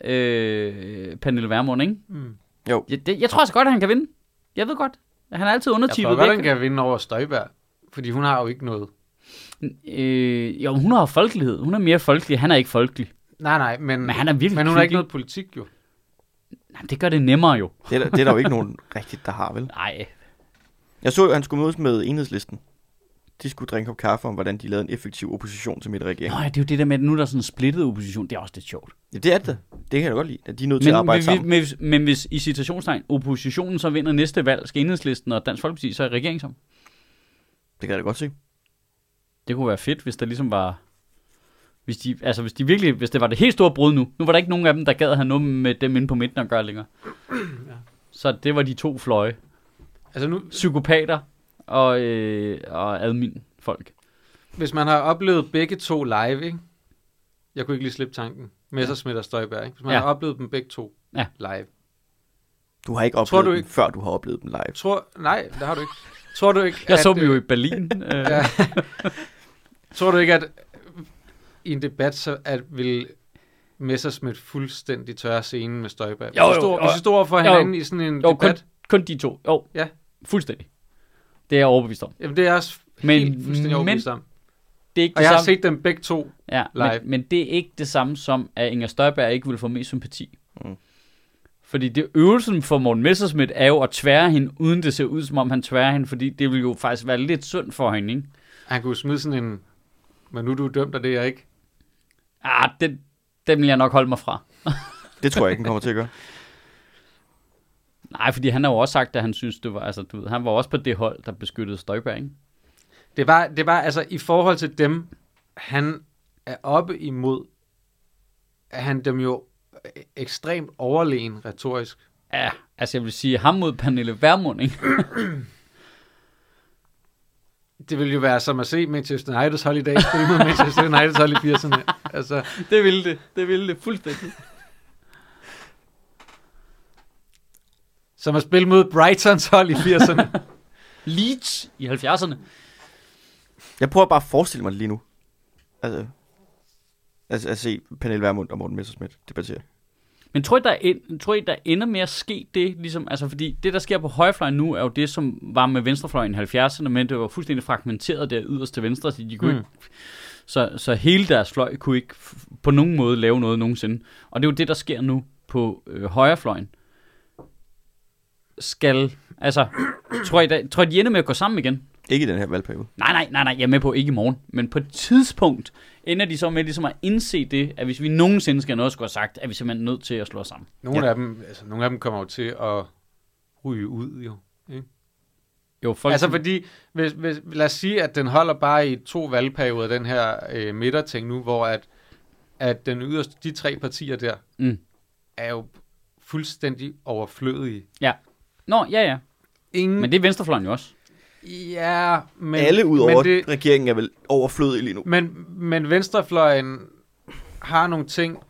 øh, Pernille Vermund, ikke? Mm. Jo. Jeg, det, jeg tror så godt, at han kan vinde. Jeg ved godt. Han er altid Jeg tror undertippet. godt, væk. han kan vinde over Støjberg, fordi hun har jo ikke noget. Øh, jo, hun har folkelighed. Hun er mere folkelig. Han er ikke folkelig. Nej, nej, men, Men han er virkelig men hun har kvik, ikke noget politik jo. Nej, det gør det nemmere jo. Det er, der, det er der jo ikke nogen rigtigt, der har, vel? Nej, Jeg så jo, at han skulle mødes med enhedslisten. De skulle drikke en kop kaffe om, hvordan de lavede en effektiv opposition til midterregeringen. Nå, ja, det er jo det der med, at nu er der sådan en splittet opposition. Det er også lidt sjovt. Ja, det er det. Det kan jeg da godt lide, at de er nødt til at Men, arbejde men, sammen. men, hvis- men hvis i citationstegn oppositionen så vinder næste valg, skal enhedslisten og Dansk Folkeparti så i regering sammen? Det kan jeg da godt se. Det kunne være fedt, hvis der ligesom var... Hvis de, altså hvis de virkelig, hvis det var det helt store brud nu. Nu var der ikke nogen af dem, der gad have noget med dem inde på midten at gøre længere. Så det var de to fløje. Altså nu, Psykopater og, øh, og admin folk. hvis man har oplevet begge to live, ikke? jeg kunne ikke lige slippe tanken, Messersmith og Støjberg, ikke? hvis man Ja. har oplevet dem begge to Ja. live. Du har ikke oplevet Tror du dem, ikke- før du har oplevet dem live. Tror, nej, det har du ikke. Tror du ikke, Jeg så at, dem jo i Berlin. Øh, Ja. Tror du ikke, at i en debat, så at vil Messersmith fuldstændig tørre scenen med Støjberg? Hvis Jo, de jo, står- jo. Hvis de står for Jo. hinanden i sådan en Jo, kun, debat, kun de to. Jo, Ja. fuldstændig. Det er jeg overbevist om. jamen det er jeg også Men- men, helt fuldstændig overbevist om. Det er ikke Og det jeg har samme. set dem begge to. Ja, live. men, men det er ikke det samme som, at Inger Støjberg ikke vil få mest sympati. Mm. Mm. Fordi det øvelsen for Morten Messerschmidt er jo at tvære hende, uden det ser ud som om han tværer hende, fordi det vil jo faktisk være lidt synd for hende, ikke? Han kunne smide sådan en, men nu er du dømt, og det er jeg ikke. Ah, den, den vil jeg nok holde mig fra. Det tror jeg ikke, han kommer til at gøre. Nej, fordi han har jo også sagt, at han synes, det var, altså du ved, han var også på det hold, der beskyttede Støjberg, ikke? Det var, det var altså i forhold til dem, han er oppe imod, er han dem jo e- ekstremt overlegen retorisk. Ja, altså jeg vil sige, ham mod Pernille Vermund, ikke? Det ville jo være som at se Manchester Uniteds hold i dag spille mod Manchester Uniteds hold i 80'erne. Altså, det ville det. Det ville det fuldstændig. som at spille mod Brightons hold i 80'erne. Leeds i 70'erne. Jeg prøver bare at forestille mig det lige nu. Altså, altså at se Pernille Vermund og Morten Messerschmidt debattere. Men tror I, der, en, tror I, der ender med at ske det? Ligesom, altså, fordi det, der sker på højrefløjen nu, er jo det, som var med venstrefløjen i 70'erne, men det var fuldstændig fragmenteret der yderst til venstre, så de kunne mm. Mm. ikke så, så hele deres fløj kunne ikke f- på nogen måde lave noget nogensinde. Og det er jo det, der sker nu på øh, højrefløjen. Skal, altså, tror I, der, tror I, de ender med at gå sammen igen? Ikke i den her valgperiode. Nej, nej, nej, nej, jeg er med på ikke i morgen. Men på et tidspunkt ender de så med ligesom at indse det, at hvis vi nogensinde skal have noget at skulle have sagt, er vi simpelthen nødt til at slå os sammen. Nogle, ja. af dem, altså, nogle af dem kommer jo til at ryge ud, jo. Jo, folk, Altså fordi, hvis, hvis, lad os sige, at den holder bare i to valgperioder, den her øh, midterting nu, hvor at, at den yderste, de tre partier der, Mm. er jo fuldstændig overflødige. Nå, ja, ja. Ingen... Men det er venstrefløjen jo også. Ja, men... Alle ud over Men, det, regeringen er vel overflødige lige nu. men, men venstrefløjen har nogle ting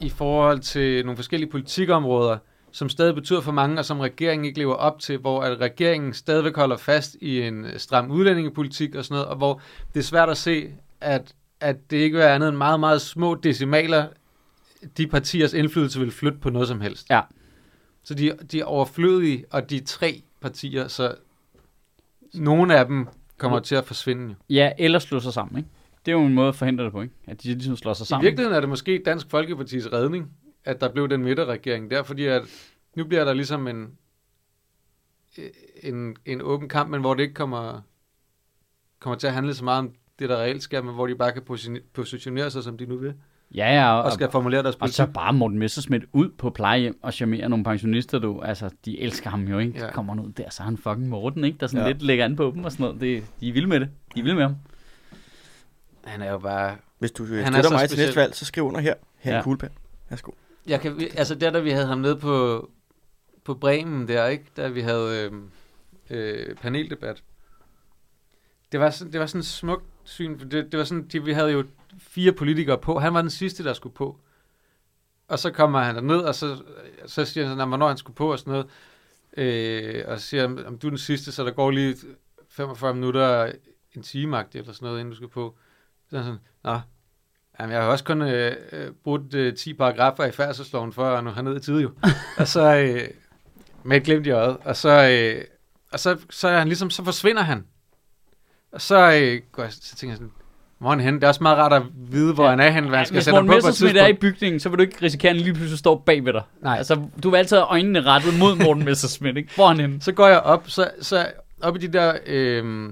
i forhold til nogle forskellige politikområder, som stadig betyder for mange, og som regeringen ikke lever op til, hvor at regeringen stadigvæk holder fast i en stram udlændingepolitik og sådan noget, og hvor det er svært at se, at, at det ikke vil være andet end meget, meget små decimaler, de partiers indflydelse vil flytte på noget som helst. Ja. Så de, de er overflødige, og de er tre partier, så nogle af dem kommer til at forsvinde. jo. Ja, eller slå sig sammen, ikke? Det er jo en måde at forhindre det på, ikke? At de ligesom slår sig sammen. I virkeligheden er det måske Dansk Folkeparti's redning, at der blev den midterregering der, fordi at nu bliver der ligesom en, en, en åben kamp, men hvor det ikke kommer, kommer til at handle så meget om det, der reelt sker, men hvor de bare kan posi- positionere sig, som de nu vil, Ja, ja, og, og skal formulere deres og politik. så bare Morten Messerschmidt ud på plejehjem og charmere nogle pensionister, du. Altså, de elsker ham jo, ikke? Ja. Ja. Så kommer han ud der, så er han fucking Morten, ikke? Der sådan ja. Ja. lidt lægger an på dem og sådan noget. Det, de er vilde med det. De er vilde med ham. Han er jo bare... Hvis du øh, er støtter så mig til speciel. næste valg, så skriv under her. Her er Ja. en kuglepen. Værsgo. Jeg kan, altså der, da vi havde ham nede på, på Bremen der, ikke? Da vi havde øh, øh, paneldebat. Det var, sådan, det var sådan et smukt syn. for Det, det var sådan, de, vi havde jo fire politikere på. Han var den sidste, der skulle på. Og så kommer han derned, og så, så siger han sådan, "Nå, hvornår han skulle på og sådan noget. Øh, og så siger han, om du er den sidste, så der går lige 45 minutter, en time eller sådan noget, inden du skal på. Så er han sådan, nå, Jamen, jeg har også kun øh, øh, brugt øh, 10 paragrafer i færdselsloven for at nå herned i tide jo. og så øh, med et glimt i øjet. Og så, øh, og så, så er han ligesom, så forsvinder han. Og så, øh, går jeg, så tænker jeg sådan, hvor er han henne? Det er også meget rart at vide, hvor Ja. ja. han er henne, hvad han skal Hvis sætte ham Morten på på et Messerschmidt tidspunkt. er i bygningen, så vil du ikke risikere, at han lige pludselig står bag ved dig. Nej. Altså, du vil altid have øjnene rettet mod Morten Messerschmidt, ikke? Hvor er han henne? Så går jeg op, så, så op i de der, øh,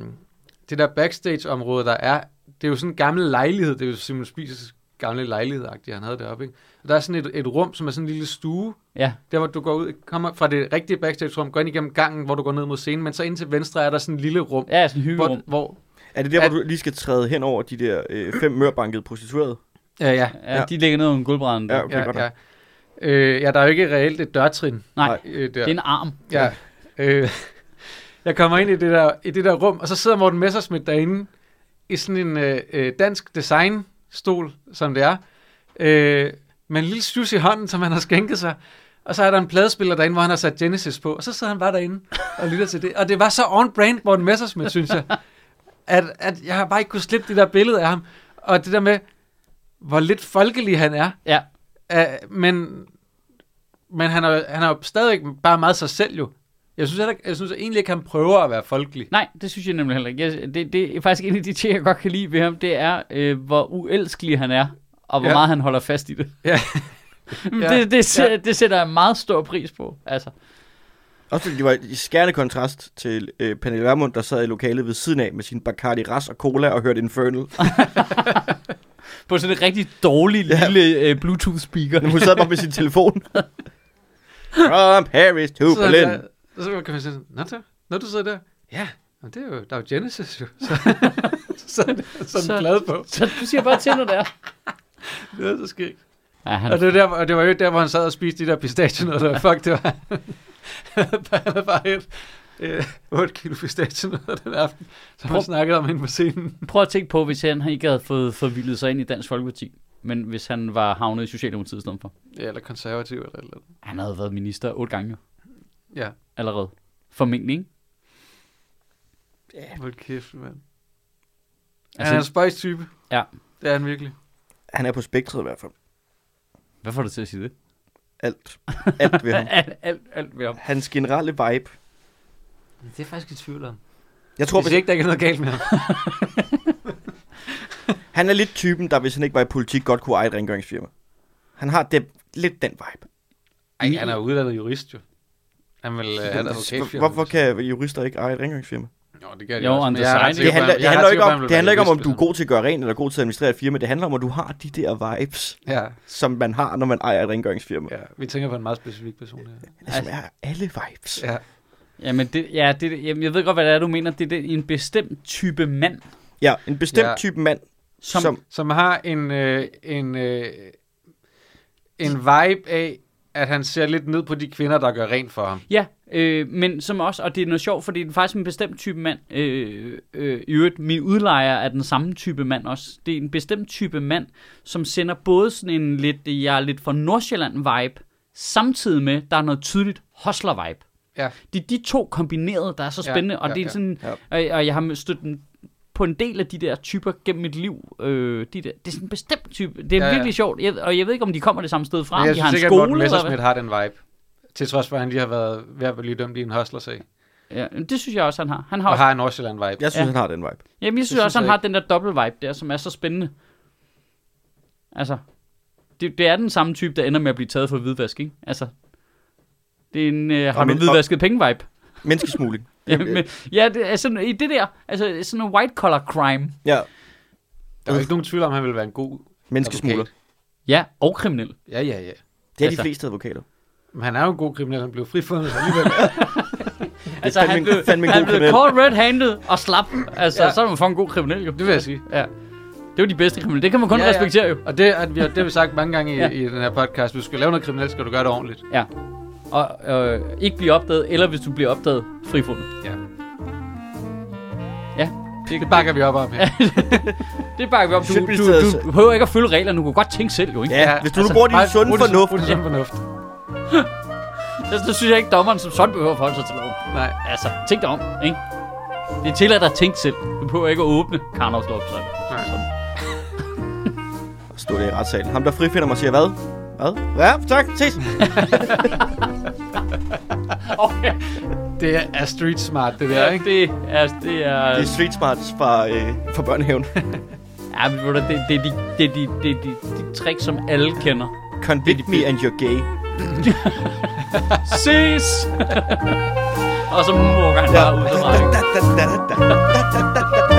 det der backstage-område, der er. Det er jo sådan en gammel lejlighed. Det er jo Simon Spises gamle lejlighed han havde deroppe. Ikke? Og der er sådan et, et rum, som er sådan en lille stue. Ja. Der, hvor du går ud, kommer fra det rigtige backstage-rum, går ind igennem gangen, hvor du går ned mod scenen, men så ind til venstre er der sådan et lille rum, Ja, sådan en hyggerum. hvor, hvor Er det der, hvor Er- du lige skal træde hen over de der øh, fem mørbankede prostituerede? Ja, ja. Ja, Ja. de ligger ned under en gulbrand. Ja, Ja. okay, godt Ja, nok. ja. Øh, ja, der er jo ikke reelt et dørtrin. Nej, Øh, det der. er en arm. Ja. Øh, jeg kommer ind i det, der, i det der rum, og så sidder Morten Messerschmidt derinde i sådan en øh, øh, dansk designstol, som det er, øh, med en lille sjus i hånden, som han har skænket sig. Og så er der en pladespiller derinde, hvor han har sat Genesis på, og så sidder han bare derinde og lytter til det. Og det var så on-brand Morten Messerschmidt, synes jeg, at, at jeg har bare ikke kunne slippe det der billede af ham. Og det der med, hvor lidt folkelig han er. Ja. Uh, men men han, er, han er jo stadigvæk bare meget sig selv jo. Jeg synes, heller ikke- jeg synes egentlig ikke, han prøver at være folkelig. Nej, det synes jeg nemlig heller ikke. Jeg, det, det er faktisk en af de ting, jeg godt kan lide ved ham, det er, øh, hvor uelskelig han er, og hvor ja. Ja. meget han holder fast i det. Ja. ja. Ja. Det, det, sæ- det sætter jeg meget stor pris på. Altså. Også fordi det var i skærende kontrast til øh, Pernille Vermund, der sad i lokalet ved siden af med sin Bacardi Ras og cola og hørte Infernal. På sådan en rigtig dårlig ja. Ja. lille øh, Bluetooth-speaker. Men hun sad bare med sin telefon. From Paris to så, Berlin. der, og så kan man sige, sådan, Nå, der, når du sidder der, ja, men det er jo, der er jo Genesis jo. Så, så, så, så, så, Så- glad på. Så du siger bare til, når det er. Det var så skægt. Ja, han, Og det var, der, og det var jo der, hvor han sad og spiste de der pistachenødder. Fuck, det var... han havde bare et, øh, 8 kilo pistachenødder den aften, som han Prøv- snakkede om inde på scenen. prøv at tænke på, hvis han ikke havde fået forvildet sig ind i Dansk Folkeparti, men hvis han var havnet i Socialdemokratiet i stedet for. Ja, eller konservativ eller et eller andet. Han havde været minister otte gange jo, Ja, allerede. Formentlig, ikke? hold kæft, mand. Altså, Altså- han er en spøjs type. Ja. Det er han virkelig. Han er på spektret i hvert fald. Hvad får du til at sige det? Alt. Alt ved ham. alt, alt, alt ved ham. Hans generelle vibe. Det er faktisk i tvivl om. Jeg tror, Tror, hvis hvis ikke der ikke er noget galt med ham. han er lidt typen, der hvis han ikke var i politik, godt kunne eje et rengøringsfirma. Han har det, lidt den vibe. Ej, han er jo uddannet jurist, jo. Han vil... Øh, han er advokatfirma. Hvorfor kan jurister ikke eje et rengøringsfirma? Jo, det gør de Jo, også, on men the jeg er ret side. Det sikker på, handler, han- det jeg er ret handler ikke sikker på, om, han vil det være handler ikke om, om jurist, du er hvis god til at gøre rent eller god til at administrere et firma. Det handler om, at du har de der vibes, han- Ja, som man har, når man ejer et rengøringsfirma. Ja. ja, vi tænker på en meget specifik person her. Altså, jeg har alle vibes. Ja. Ja. Jamen, det, ja, det, det- jamen, jeg ved godt, hvad det er, du mener. Det er det, en bestemt type mand, ja en bestemt Ja. ja. type mand, som, som, som som Som har en, øh, en, øh, en vibe af, at han ser lidt ned på de kvinder, der gør rent for ham. Ja, øh, men som også, og det er noget sjovt, fordi det er faktisk en bestemt type mand. Øh, øh, I øvrigt, min udlejer er den samme type mand også. Det er en bestemt type mand, som sender både sådan en lidt, øh, jeg er lidt for Nordsjælland-vibe, samtidig med, der er noget tydeligt hustler-vibe. Ja. Det er de to kombineret, der er så Ja, spændende, ja, og ja, det er ja, sådan, ja. Og, og jeg har stødt den på en del af de der typer gennem mit liv. Øh, de der, det er sådan en bestemt type. Det er Ja, ja, ja. virkelig sjovt, jeg, og jeg ved ikke, om de kommer det samme sted fra. Men om jeg de har synes en ikke, at skole, Morten eller hvad? Messerschmidt har den vibe. Til trods for, at han lige har været ved at blive dømt i en hustler-sag. Ja, det synes jeg også, han har. Han har Og også har en Nordsjælland-vibe. jeg synes, Ja. ja. han har den vibe. Jamen, jeg synes synes også, han jeg har den der dobbelt vibe der, som er så spændende. Altså, det, det er den samme type, der ender med at blive taget for hvidvask, ikke? Altså, det er en øh, har men- du hvidvasket penge-vibe. Menneskesmugling. Ja, men, ja, det er sådan, i det der, altså sådan en white-collar crime. Ja, Der er jo ikke nogen tvivl om, at han vil være en god menneskesmugler. advokat. Ja, og kriminel. Ja, ja, ja. Det er Altså. de fleste advokater. Men han er jo en god kriminel, han blev frifundet alligevel. Altså, fandme han en- blev, fandme en han god blev kriminel. caught red-handed og slap. Altså, Ja. ja. så er man for en god kriminel, jo. Det vil jeg sige. Ja. Det er jo de bedste kriminelle. Det kan man kun Ja, ja, ja. respektere, jo. Og det, at vi, det har vi sagt mange gange i, Ja. ja. i den her podcast. Hvis du skal lave noget kriminelt, skal du gøre det ordentligt. Ja. Og øh, ikke blive opdaget, eller hvis du bliver opdaget, frifundet. Ja. Ja, Det, det bakker vi op om her. Det bakker vi op. Du, Shit, vi du, sidder du, og- du behøver ikke at følge reglerne. Du kan godt tænke selv, jo, ikke? Ja, hvis du nu bruger din bare sunde brug det- fornuft. brug altså, din sunde fornuft. Så, så synes jeg ikke, dommeren som sådan behøver at forholde sig til loven. Nej. Altså, tænk dig om, ikke? Det er tilladt at tænke selv. Du behøver ikke at åbne Karnovs lov. Så. Nej. Og stå der i retssalen. Ham, der frifinder mig, siger hvad? Hvad? Ja, tak. Ses. Okay. Det er, er street smart, det der, Ja, ikke? det er... Det er, Det er street smarts fra, øh, fra børnehaven. ja, men, ved du, det, det, er de, det, er de, det er de, de trick, som alle kender. Convict me and you're gay. Ses! Og så mukker han bare ud af Da, da, da, da, da, da, da, da, da.